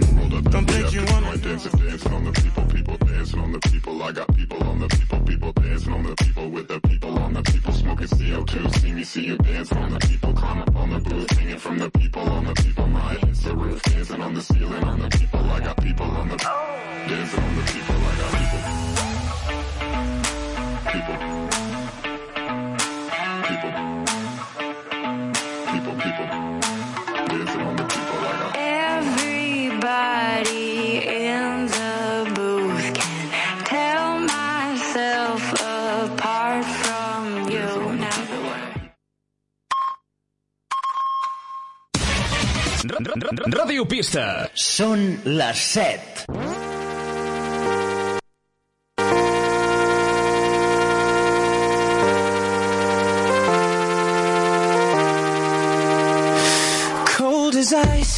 Don't think you want to dance, dancing on the people, people dancing on the people. I got people on the people, people dancing on the people with the people on the people smoking CO2. See me, see you dancing on the people, climb up on the booth, hanging from the people on the people. My hits the roof, dancing on the ceiling on the people. I got people on the dancing on the people. I got people. People. People. People, people. Dancing on the people. I got Everybody in the booth can tell myself apart from you now. Ràdio Pista. Són les 7. cold as ice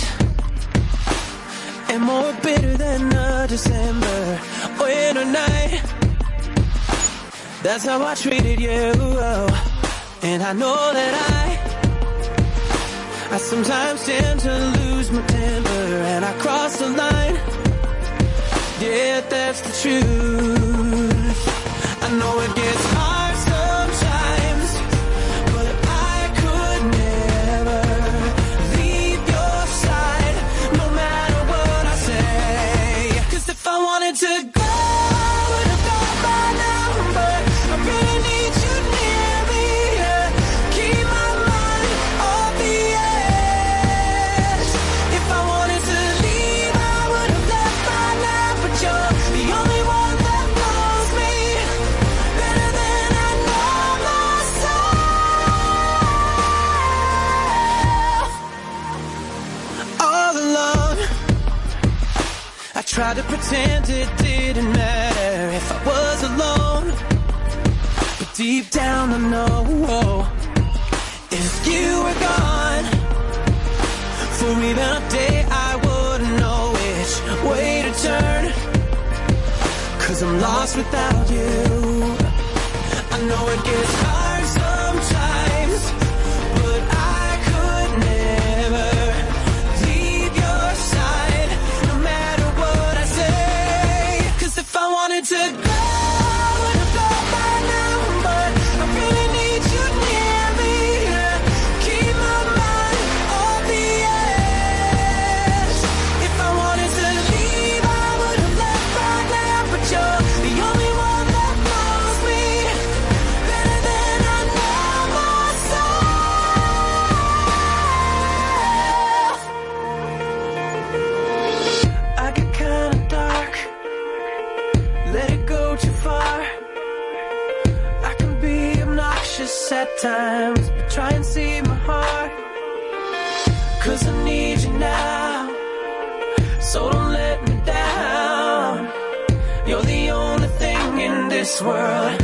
and more bitter than a December winter night. That's how I treated you, and I know that I I sometimes tend to lose my temper and I cross the line. Yeah, that's the truth. I know it gets hard sometimes, but I could never leave your side, no matter what I say. 'Cause if I wanted to go, I would have got my number. I really need you near me. yeah. Keep my mind off the edge. If I wanted to leave, I would have left by now, but you're the only one that knows me better than I know myself all alone. I tried to pretend it didn't matter if I was alone. But deep down I know oh, if you were gone for even a day, I wouldn't know which way to turn. Cause I'm lost without you. I know it gets hard sometimes, but I could never leave your side, no matter what I say. 'Cause if I wanted to go, I would have got my number. I really need you near me. yeah. Keep my mind off the edge. If I wanted to leave, I would have left by now, but you're the only one that knows me better than I know myself. I get kinda dark. Let it go too far. I can be obnoxious at times, but try and see my heart. Cause I need you now. So don't let me down. You're the only thing in this world